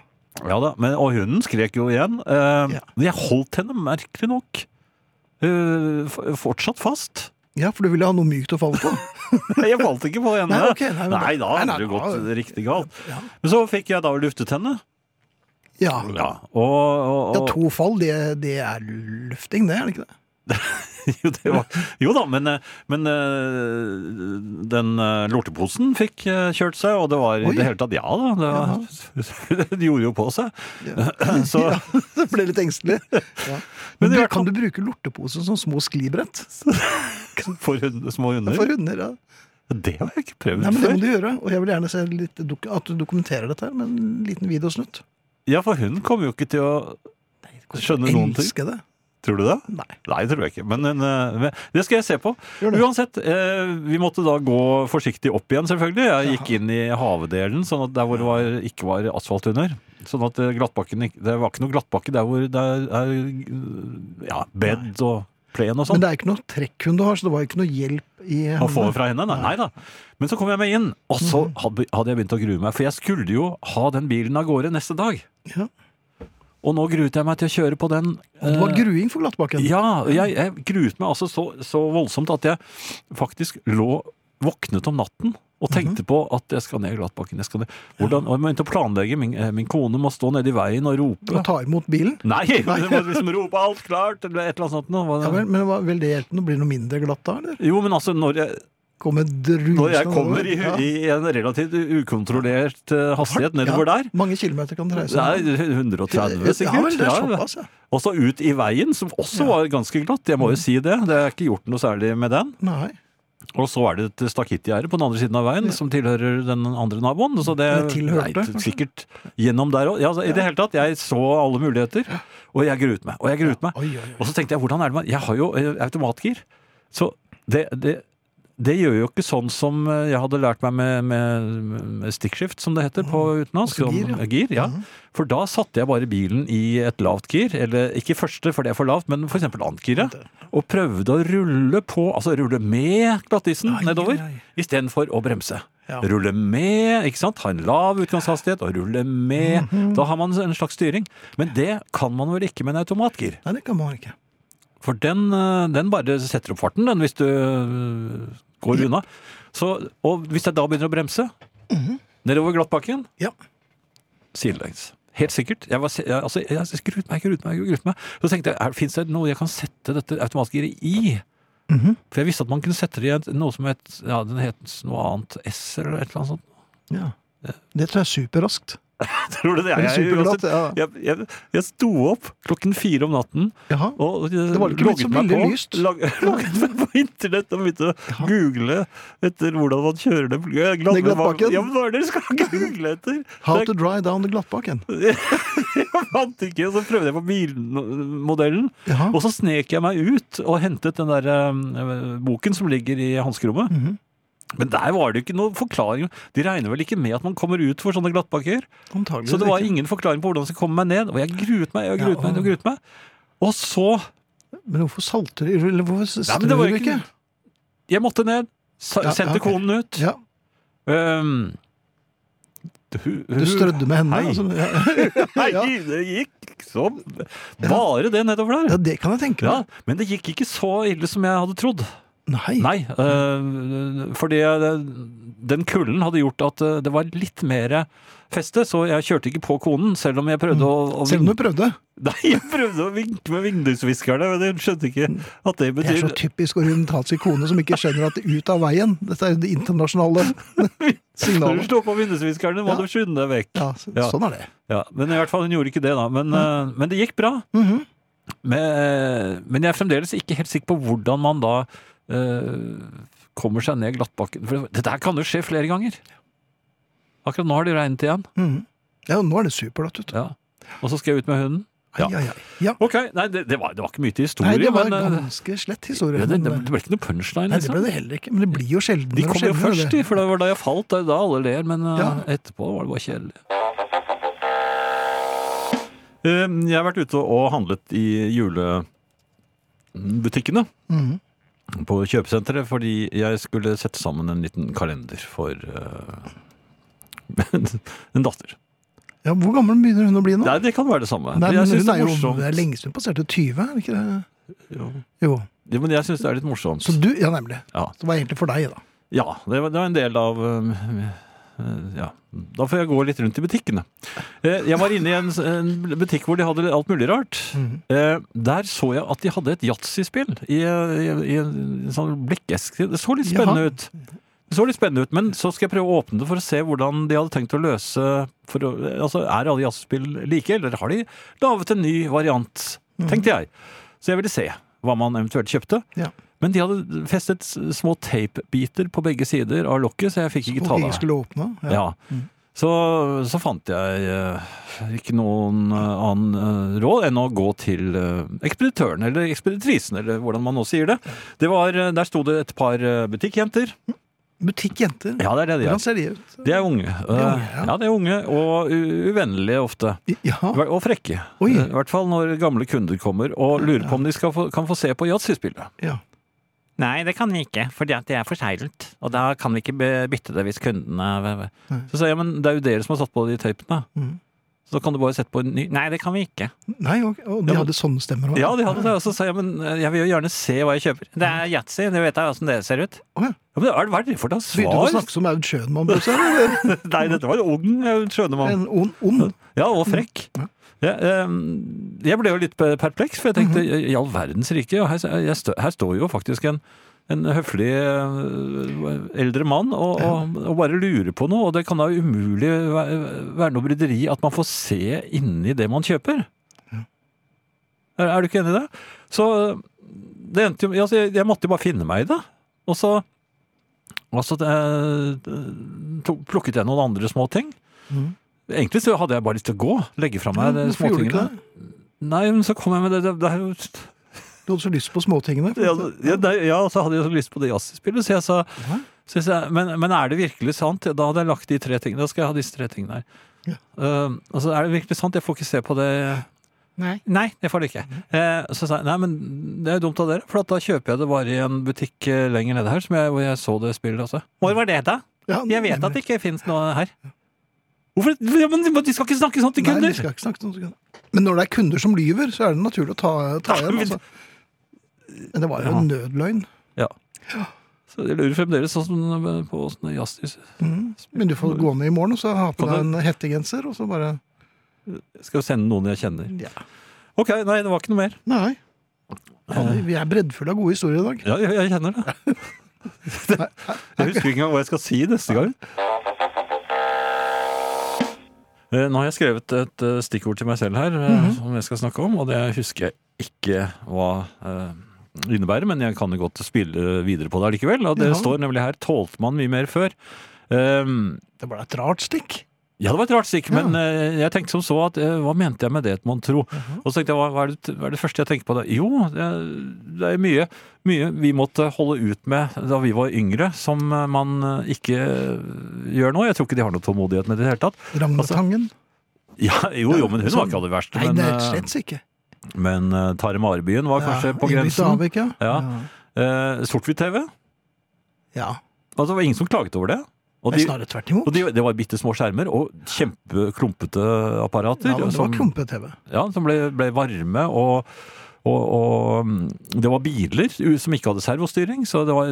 [SPEAKER 2] Ja da, men, og hunden skrek jo igjen. Eh,
[SPEAKER 1] Ja.
[SPEAKER 2] Men jeg holdt henne merkelig nok eh, f- fortsatt fast.
[SPEAKER 1] ja, for du ville ha noe mykt å falle på.
[SPEAKER 2] Jeg falt ikke på henne.
[SPEAKER 1] Nei, ok, nei, men-
[SPEAKER 2] Nei, da
[SPEAKER 1] Nei, nei,
[SPEAKER 2] hadde det gått
[SPEAKER 1] da-
[SPEAKER 2] riktig galt.
[SPEAKER 1] Ja.
[SPEAKER 2] Men så fikk jeg da luftet henne.
[SPEAKER 1] Ja.
[SPEAKER 2] Ja, og, og,
[SPEAKER 1] ja
[SPEAKER 2] og
[SPEAKER 1] to fall, det, det er lufting, det, er det ikke det?
[SPEAKER 2] jo, det var, jo da, men, eh, men eh, den eh, lorteposen fikk eh, kjørt seg, og det var
[SPEAKER 1] Oi.
[SPEAKER 2] i det hele tatt Ja da, det, var, det gjorde jo på seg. Så
[SPEAKER 1] Ja, jeg ble litt engstelig. Ja.
[SPEAKER 2] Men
[SPEAKER 1] Men,
[SPEAKER 2] i
[SPEAKER 1] du,
[SPEAKER 2] hvert fall-
[SPEAKER 1] kan du bruke lortepose som små sklibrett
[SPEAKER 2] for hund, små hunder
[SPEAKER 1] for hunder? Ja.
[SPEAKER 2] Det har jeg ikke prøvd
[SPEAKER 1] Nei, men Det
[SPEAKER 2] før.
[SPEAKER 1] må du gjøre, og jeg vil gjerne se litt dok at du dokumenterer dette her med en liten videosnutt.
[SPEAKER 2] Ja, for hun kommer jo ikke til å skjønne noen ting.
[SPEAKER 1] Elsker det.
[SPEAKER 2] Tror du det?
[SPEAKER 1] Nei.
[SPEAKER 2] Nei, tror jeg ikke. Men, men, eh, det skal jeg se på.
[SPEAKER 1] Gjør det.
[SPEAKER 2] Uansett, eh, vi måtte da gå forsiktig opp igjen, selvfølgelig. Jeg gikk inn i havedelen, sånn at der hvor det var, ikke var asfalt under. Sånn at eh, glattbakken ikke- Det var ikke noe glattbakke der hvor det er eh, ja, bed og plen og
[SPEAKER 1] Men
[SPEAKER 2] sånn.
[SPEAKER 1] det er ikke noe trekkhund du har, så det var ikke noe hjelp i
[SPEAKER 2] Å få det fra henne? Nei, nei da. Men så kom jeg meg inn, og så
[SPEAKER 1] Mm.
[SPEAKER 2] hadde hadde jeg begynt å grue meg. For jeg skulle jo ha den bilen av gårde neste dag.
[SPEAKER 1] Ja.
[SPEAKER 2] Og nå gruet jeg meg til å kjøre på den.
[SPEAKER 1] Det var
[SPEAKER 2] eh,
[SPEAKER 1] gruing for glattbakken.
[SPEAKER 2] Ja, og jeg, jeg gruet meg altså så, så voldsomt at jeg faktisk lå våknet om natten og tenkte
[SPEAKER 1] Mhm.
[SPEAKER 2] på at jeg skal ned glattbakken. Jeg skal ned. Hvordan, og jeg begynte å planlegge. Min, eh, min kone må stå nede i veien og
[SPEAKER 1] Og
[SPEAKER 2] rope.
[SPEAKER 1] ta imot bilen.
[SPEAKER 2] Nei, du må liksom rope 'alt klart' eller et eller annet sånt. nå. Hva-
[SPEAKER 1] Ja, vel, men hva- vil det hjelpe? Nå blir det noe mindre glatt da, eller?
[SPEAKER 2] Jo, men altså, når jeg,
[SPEAKER 1] Kommer drusende
[SPEAKER 2] når jeg
[SPEAKER 1] over.
[SPEAKER 2] kommer i,
[SPEAKER 1] Ja.
[SPEAKER 2] i en relativt ukontrollert eh, hastighet nedover
[SPEAKER 1] Ja,
[SPEAKER 2] der
[SPEAKER 1] Mange kilometer kan det reise.
[SPEAKER 2] Nei, 130 sikkert.
[SPEAKER 1] Ja, vel, det er
[SPEAKER 2] Ja,
[SPEAKER 1] såpass, ja.
[SPEAKER 2] Og så ut i veien, som også var ganske glatt. Jeg
[SPEAKER 1] Mm.
[SPEAKER 2] må jo si det. Det er ikke gjort noe særlig med den.
[SPEAKER 1] Nei.
[SPEAKER 2] Og så er det et stakittgjerde på den andre siden av veien som tilhører den andre naboen. Så det
[SPEAKER 1] Eller tilhørte,
[SPEAKER 2] Nei,
[SPEAKER 1] kanskje?
[SPEAKER 2] sikkert gjennom der òg. Ja, altså, I det hele tatt, jeg så alle muligheter, og jeg gruet meg. Og jeg gruet meg.
[SPEAKER 1] Oi, oi, oi.
[SPEAKER 2] Og så tenkte jeg, hvordan er det man Jeg har jo eh, automatgir. Så det, det, det gjør jo ikke sånn som eh, jeg hadde lært meg med, med, med stikkskift, som det heter på utenlandsk.
[SPEAKER 1] altså gir,
[SPEAKER 2] som-
[SPEAKER 1] ja.
[SPEAKER 2] gir, ja. For da satte jeg bare bilen i et lavt gir, eller ikke første, for det er for lavt, men f.eks. annet giret, og prøvde å rulle på, altså rulle med glattisen
[SPEAKER 1] Ai,
[SPEAKER 2] nedover,
[SPEAKER 1] ai.
[SPEAKER 2] istedenfor å bremse.
[SPEAKER 1] Ja.
[SPEAKER 2] Rulle med, ikke sant? Ha en lav utgangshastighet og rulle med.
[SPEAKER 1] Mhm.
[SPEAKER 2] Da har man en slags styring. Men det kan man vel ikke med en automatgir?
[SPEAKER 1] Nei, det kan man ikke.
[SPEAKER 2] For den, eh, den bare setter opp farten, den, hvis du eh, går unna. Så, og hvis jeg da begynner å bremse,
[SPEAKER 1] Mhm.
[SPEAKER 2] nedover glattbakken,
[SPEAKER 1] Ja.
[SPEAKER 2] sidelengs. Helt sikkert. Jeg, var, se- jeg, altså, jeg skrut meg, grut meg, grut meg. Så tenkte jeg, fins det noe jeg kan sette dette automatgiret i?
[SPEAKER 1] Mhm.
[SPEAKER 2] For jeg visste at man kunne sette det i et, noe som het, ja, den het noe annet S eller et eller annet sånt.
[SPEAKER 1] ja. Det tror jeg er superraskt.
[SPEAKER 2] Tror du det?
[SPEAKER 1] Eller
[SPEAKER 2] Jeg,
[SPEAKER 1] superglatt.
[SPEAKER 2] jeg,
[SPEAKER 1] Ja.
[SPEAKER 2] jeg, jeg, jeg sto opp klokken fire om natten
[SPEAKER 1] Jaha.
[SPEAKER 2] Og det
[SPEAKER 1] var ikke blitt så veldig lyst.
[SPEAKER 2] Lag, logget meg på internett og begynte å google etter hvordan man kjører det. Jeg gladde
[SPEAKER 1] Ned glattbakken.
[SPEAKER 2] meg- Ja, men hva er det dere skal google etter?
[SPEAKER 1] How to
[SPEAKER 2] Så
[SPEAKER 1] dry down the glattbakken.
[SPEAKER 2] jeg, jeg fant ikke, og så prøvde jeg på bilmodellen.
[SPEAKER 1] Jaha.
[SPEAKER 2] Og så snek jeg meg ut og hentet den der eh, boken som ligger i hanskerommet.
[SPEAKER 1] Mhm.
[SPEAKER 2] Men der var det jo ikke noen forklaring. De regner vel ikke med at man kommer ut for sånne glattbakker?
[SPEAKER 1] Antageligvis
[SPEAKER 2] Så det var
[SPEAKER 1] ikke.
[SPEAKER 2] ingen forklaring på hvordan jeg skulle komme meg ned. Og jeg gruet meg og
[SPEAKER 1] Ja,
[SPEAKER 2] gruet meg og gruet meg. Og så
[SPEAKER 1] Men hvorfor salter du Eller hvorfor
[SPEAKER 2] Nei, men det var
[SPEAKER 1] strør du
[SPEAKER 2] jo
[SPEAKER 1] ikke?
[SPEAKER 2] ikke- Jeg måtte ned, sa,
[SPEAKER 1] Ja, ja,
[SPEAKER 2] sendte
[SPEAKER 1] ok.
[SPEAKER 2] konen ut.
[SPEAKER 1] Ja,
[SPEAKER 2] Ehm, hu- hu-
[SPEAKER 1] du strødde med henne.
[SPEAKER 2] Hei.
[SPEAKER 1] Altså, ja.
[SPEAKER 2] Nei,
[SPEAKER 1] ja.
[SPEAKER 2] det gikk som bare det nedover
[SPEAKER 1] ja,
[SPEAKER 2] der.
[SPEAKER 1] det kan jeg tenke
[SPEAKER 2] Ja,
[SPEAKER 1] meg.
[SPEAKER 2] men det gikk ikke så ille som jeg hadde trodd.
[SPEAKER 1] Nei.
[SPEAKER 2] Nei, eh, fordi eh, den kulden hadde gjort at eh, det var litt mer feste, så jeg kjørte ikke på konen, selv om jeg prøvde å, å
[SPEAKER 1] Selv om du
[SPEAKER 2] vinke.
[SPEAKER 1] prøvde.
[SPEAKER 2] Nei, jeg prøvde å vinke med vindusviskerne, men jeg skjønte ikke at det
[SPEAKER 1] Mm. Det er så
[SPEAKER 2] betyr
[SPEAKER 1] typisk orientalsk kone som ikke skjønner at det er ut av veien. Dette er jo det internasjonale
[SPEAKER 2] Når du
[SPEAKER 1] signalet.
[SPEAKER 2] slår på vindusviskerne, må
[SPEAKER 1] Ja.
[SPEAKER 2] du skynde deg vekk.
[SPEAKER 1] Ja, så,
[SPEAKER 2] Ja.
[SPEAKER 1] Sånn er det.
[SPEAKER 2] Ja, men i hvert fall hun gjorde ikke det da. Men, eh, men det gikk bra.
[SPEAKER 1] Mhm.
[SPEAKER 2] men, eh, men jeg er fremdeles ikke helt sikker på hvordan man da eh, kommer seg ned glattbakken. For det der kan jo skje flere ganger. Akkurat nå har det regnet igjen.
[SPEAKER 1] Mm. Ja, nå er det supert, vet du.
[SPEAKER 2] Ja. Og så skal jeg ut med hunden. Ja.
[SPEAKER 1] Ai, ai, ai. ja.
[SPEAKER 2] Ok, nei, det, det, var, det var ikke mye til historie.
[SPEAKER 1] Nei, det var
[SPEAKER 2] men, eh,
[SPEAKER 1] ganske slett historie.
[SPEAKER 2] det, det, det
[SPEAKER 1] men- eh,
[SPEAKER 2] ble ikke noe punchline,
[SPEAKER 1] Nei, det ble
[SPEAKER 2] liksom.
[SPEAKER 1] det heller ikke. Men det blir jo sjeldnere
[SPEAKER 2] De
[SPEAKER 1] og
[SPEAKER 2] kom jo
[SPEAKER 1] sjeldnere,
[SPEAKER 2] først, de,
[SPEAKER 1] det.
[SPEAKER 2] for det var da jeg falt. Det er da alle ler, men eh,
[SPEAKER 1] Ja.
[SPEAKER 2] etterpå var det bare kjedelig. Eh, Jeg har vært ute og handlet i julebutikkene.
[SPEAKER 1] Mhm.
[SPEAKER 2] På kjøpesenteret fordi jeg skulle sette sammen en liten kalender for eh, en datter.
[SPEAKER 1] Ja, hvor gammel begynner hun å bli nå?
[SPEAKER 2] Nei, det kan være det samme.
[SPEAKER 1] Nei,
[SPEAKER 2] Men jeg
[SPEAKER 1] men hun
[SPEAKER 2] synes det
[SPEAKER 1] er
[SPEAKER 2] er
[SPEAKER 1] jo
[SPEAKER 2] morsomt.
[SPEAKER 1] det er lenge siden hun passerte 20, er det ikke det?
[SPEAKER 2] Jo.
[SPEAKER 1] Jo.
[SPEAKER 2] Jo, men jeg syns det er litt morsomt.
[SPEAKER 1] Så du, ja nemlig.
[SPEAKER 2] Ja.
[SPEAKER 1] Så det var egentlig for deg, da.
[SPEAKER 2] Ja, det var, det var en del av øhm, øh, ja. Da får jeg gå litt rundt i butikkene. Eh, Jeg var inne i en, s- en butikk hvor de hadde alt mulig rart. Eh, Der så jeg at de hadde et yatzyspill i, i, i en sånn blikkeske. Det så litt spennende
[SPEAKER 1] Jaha.
[SPEAKER 2] ut. Det så litt spennende ut, Men så skal jeg prøve å åpne det for å se hvordan de hadde tenkt å løse for, å- altså, Er alle jazzspill like, eller har de laget en ny variant? Tenkte jeg. Så jeg ville se hva man eventuelt kjøpte.
[SPEAKER 1] Ja.
[SPEAKER 2] Men de hadde festet s- små teipbiter på begge sider av lokket, så jeg fikk ikke
[SPEAKER 1] Og
[SPEAKER 2] ta
[SPEAKER 1] jeg
[SPEAKER 2] det.
[SPEAKER 1] skulle åpne.
[SPEAKER 2] Ja. Så, så fant jeg eh, ikke noen eh, annen eh, råd enn å gå til eh, ekspeditøren, eller ekspeditrisen, eller hvordan man nå sier det. det var, eh, der sto det et par eh, butikkjenter.
[SPEAKER 1] Butikkjenter.
[SPEAKER 2] Ja, det er det de
[SPEAKER 1] Hvordan
[SPEAKER 2] er.
[SPEAKER 1] ser de ut?
[SPEAKER 2] De er unge. Eh,
[SPEAKER 1] ja.
[SPEAKER 2] Ja, de er unge, og u- uvennlige ofte.
[SPEAKER 1] Ja.
[SPEAKER 2] Og frekke.
[SPEAKER 1] Oi.
[SPEAKER 2] Eh, I hvert fall når gamle kunder kommer og lurer på om de skal få, kan få se på yatzyspillet.
[SPEAKER 1] ja.
[SPEAKER 2] Nei, det kan vi ikke, fordi at det er forseglet. Og da kan vi ikke be- bytte det hvis kundene Så sier jeg, men det er jo dere som har satt på de tapene.
[SPEAKER 1] Mhm.
[SPEAKER 2] Så da kan du bare sette på en ny Nei, det kan vi ikke.
[SPEAKER 1] Nei, ok. og
[SPEAKER 2] Ja,
[SPEAKER 1] de
[SPEAKER 2] men-
[SPEAKER 1] hadde sånne stemmer også?
[SPEAKER 2] Ja, de hadde det. Og så sa jeg, men eh, jeg vil jo gjerne se hva jeg kjøper. Det er yatzy, det vet jeg åssen det ser ut.
[SPEAKER 1] Mm. Å, ja.
[SPEAKER 2] Ja, men hva er- hva er det for noe
[SPEAKER 1] Begynte du å
[SPEAKER 2] svar?
[SPEAKER 1] snakke som Aud Schønmann? plutselig, eller?
[SPEAKER 2] Nei, dette var en ung, eh, skjønner man.
[SPEAKER 1] En ond? ond.
[SPEAKER 2] Ja, og frekk.
[SPEAKER 1] Ja.
[SPEAKER 2] Ja, ehm, jeg ble jo litt pe- perpleks, for jeg tenkte i all verdens rike, ja, her, jeg stø, her står jo faktisk en, en høflig eh, eldre mann og, og, og bare lurer på noe, og det kan da umulig væ- være noe bryderi at man får se inni det man kjøper. Er, er du ikke enig i det? Så det endte jo, altså, jeg, jeg måtte jo bare finne meg i det. Og så, og så eh, tok, plukket jeg noen andre små ting. Egentlig så hadde jeg bare lyst til å gå, legge fra meg de
[SPEAKER 1] Mm. Hvorfor gjorde du ikke
[SPEAKER 2] småtingene.
[SPEAKER 1] det?
[SPEAKER 2] Nei, men så kom jeg med det, det, det er jo
[SPEAKER 1] Du hadde så lyst på småtingene.
[SPEAKER 2] ja, ja, det- ja, og så hadde jeg så lyst på det jazzspillet, så jeg sa så jeg, sa, men, men er det virkelig sant? Da hadde jeg lagt de tre tingene. Da skal jeg ha disse tre tingene her.
[SPEAKER 1] Ja.
[SPEAKER 2] Eh, altså, er det virkelig sant? Jeg får ikke se på det
[SPEAKER 1] Nei. Mhm.
[SPEAKER 2] Nei, det får det ikke. Eh, så sa jeg nei, men det er jo dumt av dere, for at da kjøper jeg det bare i en butikk eh, lenger nede her som jeg, hvor jeg så det spillet også. Hvor var det, da?
[SPEAKER 1] Ja,
[SPEAKER 2] Jeg vet at det ikke fins noe her. Hvorfor? Ja, men de skal ikke snakke sånn til
[SPEAKER 1] Nei, vi
[SPEAKER 2] kunder!
[SPEAKER 1] skal ikke snakke sånn. Men når det er kunder som lyver, så er det naturlig å ta, ta
[SPEAKER 2] Ja,
[SPEAKER 1] igjen.
[SPEAKER 2] men-
[SPEAKER 1] Altså. Men det var jo
[SPEAKER 2] Ja.
[SPEAKER 1] en nødløgn.
[SPEAKER 2] Ja. Så jeg lurer fremdeles sånn som på sånn jazzhus.
[SPEAKER 1] Men du får gå ned i morgen og så ha på
[SPEAKER 2] Kan
[SPEAKER 1] deg en hettegenser, og så bare
[SPEAKER 2] Skal jo sende noen jeg kjenner.
[SPEAKER 1] Ja.
[SPEAKER 2] Ok, nei, det var ikke noe mer.
[SPEAKER 1] Nei.
[SPEAKER 2] Eh.
[SPEAKER 1] Fader, vi er breddfulle av gode historier i dag.
[SPEAKER 2] Ja, jeg, jeg kjenner det. Jeg husker ikke engang hva jeg skal si neste gang. Eh, Nå har jeg skrevet et eh, stikkord til meg selv her, eh, som jeg skal snakke om, og det husker jeg ikke hva eh, innebærer, men jeg kan jo godt spille videre på det likevel. Og det
[SPEAKER 1] Ja.
[SPEAKER 2] står nemlig her 'tålte man mye mer før'. Eh,
[SPEAKER 1] Det ble et rart stikk.
[SPEAKER 2] ja, det var et rart stikk,
[SPEAKER 1] Ja.
[SPEAKER 2] men eh, jeg tenkte som så at eh, hva mente jeg med det, mon tro?
[SPEAKER 1] Mhm.
[SPEAKER 2] Og så tenkte jeg, hva, hva, er det, hva er det første jeg tenker på da? Jo, det, det er mye, mye vi måtte holde ut med da vi var yngre, som eh, man eh, ikke gjør nå. Jeg tror ikke de har noe tålmodighet med det i det hele tatt.
[SPEAKER 1] Ragnetangen.
[SPEAKER 2] Ja, jo, jo, men hun var ikke av det verste.
[SPEAKER 1] Sånn. Nei, det
[SPEAKER 2] Men,
[SPEAKER 1] er
[SPEAKER 2] eh,
[SPEAKER 1] slett ikke.
[SPEAKER 2] men eh, Tare Marbyen var kanskje på
[SPEAKER 1] Ingrid
[SPEAKER 2] grensen.
[SPEAKER 1] Stavik, ja.
[SPEAKER 2] Ja. Eh, Sort-hvitt-TV.
[SPEAKER 1] ja.
[SPEAKER 2] Altså, det var ingen som klaget over det. Og
[SPEAKER 1] Men
[SPEAKER 2] de,
[SPEAKER 1] snarere tvert
[SPEAKER 2] og
[SPEAKER 1] imot.
[SPEAKER 2] de, det var bitte små skjermer og kjempeklumpete apparater.
[SPEAKER 1] Ja, men det var
[SPEAKER 2] som-
[SPEAKER 1] klumpe-TV.
[SPEAKER 2] ja, som ble, ble varme og og, og mm, det var biler u- som ikke hadde servostyring, så det var,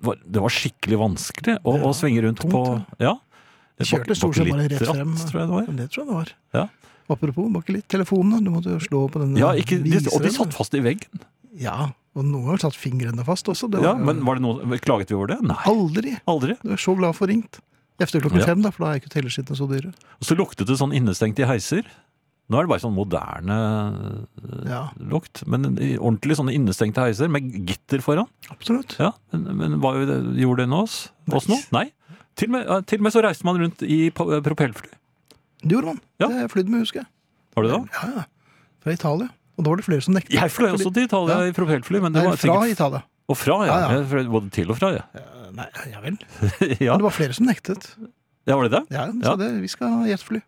[SPEAKER 2] var- det var skikkelig vanskelig å, å svinge rundt
[SPEAKER 1] tungt,
[SPEAKER 2] på Ja.
[SPEAKER 1] De kjørte stort sett bare rett
[SPEAKER 2] Bakelitt
[SPEAKER 1] frem. mm,
[SPEAKER 2] ratt, tror jeg det var.
[SPEAKER 1] Men Det tror jeg det var.
[SPEAKER 2] Ja.
[SPEAKER 1] Apropos bakelitt. Telefonene, du måtte jo slå på den
[SPEAKER 2] Ja, ikke, de, og de
[SPEAKER 1] viseren.
[SPEAKER 2] satt fast i veggen.
[SPEAKER 1] Ja, og noen har satt fingrene fast også. Det
[SPEAKER 2] Ja,
[SPEAKER 1] var,
[SPEAKER 2] men var det noe, Klaget vi over det? Nei.
[SPEAKER 1] Aldri!
[SPEAKER 2] Aldri.
[SPEAKER 1] Du er så glad for ringt. Efter klokken
[SPEAKER 2] Ja.
[SPEAKER 1] fem, da, for da er ikke telleskittene så dyre.
[SPEAKER 2] Og så luktet det sånn innestengt i heiser. Nå er det bare sånn moderne eh,
[SPEAKER 1] Ja,
[SPEAKER 2] lukt. Men i ordentlig sånne innestengte heiser med gitter foran.
[SPEAKER 1] absolutt.
[SPEAKER 2] Ja, Men, men hva gjorde det med oss? Oss nå? Nei. Til og med, ja, til og med så reiste man rundt i pa- eh, propellfly.
[SPEAKER 1] Det gjorde man.
[SPEAKER 2] Ja.
[SPEAKER 1] Det har jeg flydd med, husker jeg.
[SPEAKER 2] Var det da?
[SPEAKER 1] Ja, ja. Fra Italia. Og da var det flere som nektet.
[SPEAKER 2] Jeg fløy også til Italia i propellfly, men det
[SPEAKER 1] Nei,
[SPEAKER 2] var
[SPEAKER 1] fra
[SPEAKER 2] sikkert
[SPEAKER 1] Italia.
[SPEAKER 2] Og fra, ja.
[SPEAKER 1] Ja, ja.
[SPEAKER 2] Jeg fløy Både til og fra, ja.
[SPEAKER 1] Nei, ja vel.
[SPEAKER 2] ja.
[SPEAKER 1] Men det var flere som nektet.
[SPEAKER 2] ja var det det?
[SPEAKER 1] Ja, de sa
[SPEAKER 2] Ja.
[SPEAKER 1] det. Vi skal ha jetfly.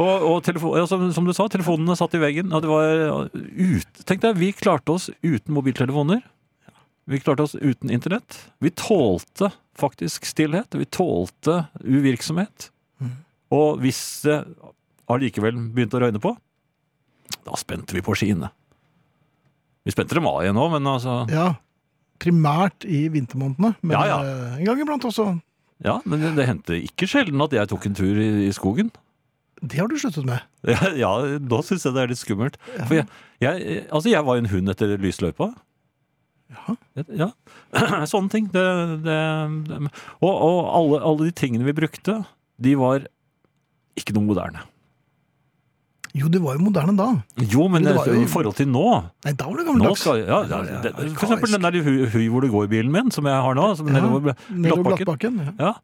[SPEAKER 2] Og, og telefo- ja, som, som du sa, telefonene satt i veggen. Og det var ja, ut, Tenk deg, vi klarte oss uten mobiltelefoner. Vi klarte oss uten internett. Vi tålte faktisk stillhet. Vi tålte uvirksomhet. Og hvis det allikevel begynte å røyne på, da spente vi på skiene. Vi spente dem av igjen nå, men altså
[SPEAKER 1] Ja. Primært i vintermånedene, men
[SPEAKER 2] Ja, ja.
[SPEAKER 1] eh, en gang iblant også.
[SPEAKER 2] Ja, men det, det hendte ikke sjelden at jeg tok en tur i, i skogen.
[SPEAKER 1] Det har du sluttet med.
[SPEAKER 2] Ja, ja da syns jeg det er litt skummelt. For jeg, jeg, altså, jeg var jo en hund etter lysløypa.
[SPEAKER 1] Ja.
[SPEAKER 2] Ja. Sånne ting. Det, det, det. Og, og alle, alle de tingene vi brukte, de var ikke noe moderne.
[SPEAKER 1] Jo, det var jo moderne da.
[SPEAKER 2] Jo, men
[SPEAKER 1] Men det var jo-
[SPEAKER 2] i forhold til nå,
[SPEAKER 1] Nei, da var det
[SPEAKER 2] nå
[SPEAKER 1] gammeldags.
[SPEAKER 2] skal, ja, ja,
[SPEAKER 1] Ja,
[SPEAKER 2] det,
[SPEAKER 1] arkaisk.
[SPEAKER 2] For eksempel den der Hu- Hui hvor det går-bilen min, som jeg har nå. Som
[SPEAKER 1] Ja,
[SPEAKER 2] nedover
[SPEAKER 1] Nedover
[SPEAKER 2] Glattbakken.
[SPEAKER 1] Glattbakken. Ja.
[SPEAKER 2] Ja.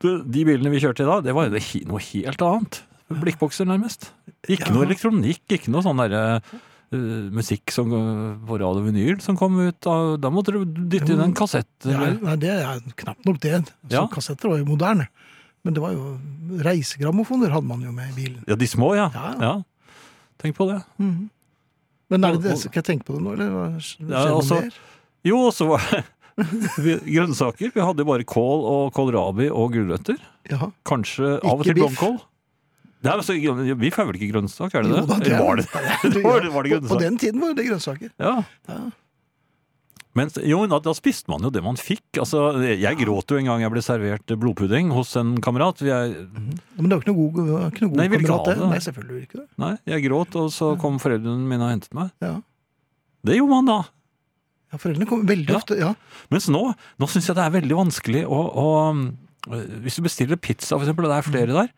[SPEAKER 2] Du, de bilene vi kjørte i dag, det var jo det he- noe helt annet. Blikkbokser, nærmest. Ikke
[SPEAKER 1] Ja.
[SPEAKER 2] noe elektronikk, ikke noe sånn derre eh, musikk som, eh, på radio vinyl som kom ut av Da måtte du dytte inn en kassett.
[SPEAKER 1] Ja,
[SPEAKER 2] Eller?
[SPEAKER 1] nei, det er knapt nok det. Så
[SPEAKER 2] Ja.
[SPEAKER 1] Kassetter var jo moderne. Men det var jo reisegrammofoner hadde man jo med i bilen.
[SPEAKER 2] Ja, de små, ja. ja.
[SPEAKER 1] Ja.
[SPEAKER 2] Tenk på det.
[SPEAKER 1] Men er det det,
[SPEAKER 2] Og-
[SPEAKER 1] skal jeg tenke på det nå, eller hva- skjer det
[SPEAKER 2] Ja,
[SPEAKER 1] noe
[SPEAKER 2] altså-
[SPEAKER 1] mer?
[SPEAKER 2] Jo, og så var det vi- grønnsaker. Vi hadde jo bare kål og kålrabi og gulrøtter.
[SPEAKER 1] Ja.
[SPEAKER 2] Kanskje av og
[SPEAKER 1] Ikke
[SPEAKER 2] til
[SPEAKER 1] biff.
[SPEAKER 2] blomkål. Nei, men så, Biff er vel ikke grønnsak, er det det?
[SPEAKER 1] Jo da, det er-
[SPEAKER 2] Var det, var det, var det
[SPEAKER 1] På, på
[SPEAKER 2] grønnsak?
[SPEAKER 1] den tiden var det grønnsaker.
[SPEAKER 2] Ja. Men jo, da, da spiste man jo det man fikk. Altså, jeg gråt jo en gang jeg ble servert blodpudding hos en kamerat. Jeg,
[SPEAKER 1] Ja, Men det var ikke noe god, det var ikke noe god
[SPEAKER 2] Nei, vil ikke
[SPEAKER 1] kamerat,
[SPEAKER 2] ha
[SPEAKER 1] det.
[SPEAKER 2] det.
[SPEAKER 1] Nei, selvfølgelig vil ikke det.
[SPEAKER 2] nei, jeg gråt, og så kom foreldrene mine og hentet meg.
[SPEAKER 1] Ja.
[SPEAKER 2] Det gjorde man da.
[SPEAKER 1] Ja, foreldrene kom veldig
[SPEAKER 2] Ja.
[SPEAKER 1] ofte. Ja.
[SPEAKER 2] Mens nå, nå syns jeg det er veldig vanskelig å, å øh, Hvis du bestiller pizza, for eksempel, og det er flere der,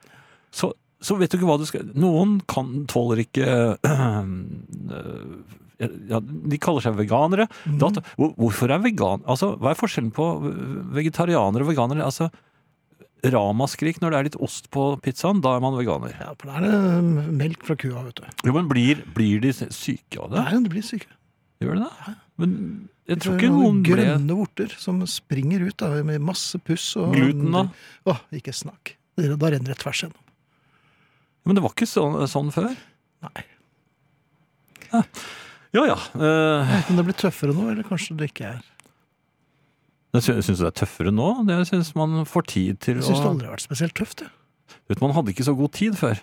[SPEAKER 2] så, så vet du ikke hva du skal Noen kan, tåler ikke øh, ja, De kaller seg veganere. Da, hvor- hvorfor er vegan... Altså, hva er forskjellen på vegetarianere og veganere? Altså, Ramaskrik når det er litt ost på pizzaen, da er man veganer.
[SPEAKER 1] ja, for da er det um, melk fra kua, vet du.
[SPEAKER 2] Jo, men blir, blir de syke av det?
[SPEAKER 1] Nei, de blir syke.
[SPEAKER 2] Gjør de det? Men jeg tror
[SPEAKER 1] Det er
[SPEAKER 2] ikke
[SPEAKER 1] noen
[SPEAKER 2] noen ble
[SPEAKER 1] Grønne vorter som springer ut da, med masse puss. Og
[SPEAKER 2] Gluten, da?
[SPEAKER 1] Åh, ikke snakk. Det- Da renner det tvers gjennom.
[SPEAKER 2] Men det var ikke sånn, sånn før?
[SPEAKER 1] Nei.
[SPEAKER 2] Ja ja. eh,
[SPEAKER 1] Men det blir tøffere nå, eller kanskje det ikke er.
[SPEAKER 2] Jeg sy- syns det er tøffere nå. Det syns man får tid til
[SPEAKER 1] Jeg
[SPEAKER 2] å
[SPEAKER 1] syns det aldri har vært spesielt tøft. Jeg.
[SPEAKER 2] Vet du, Man hadde ikke så god tid før.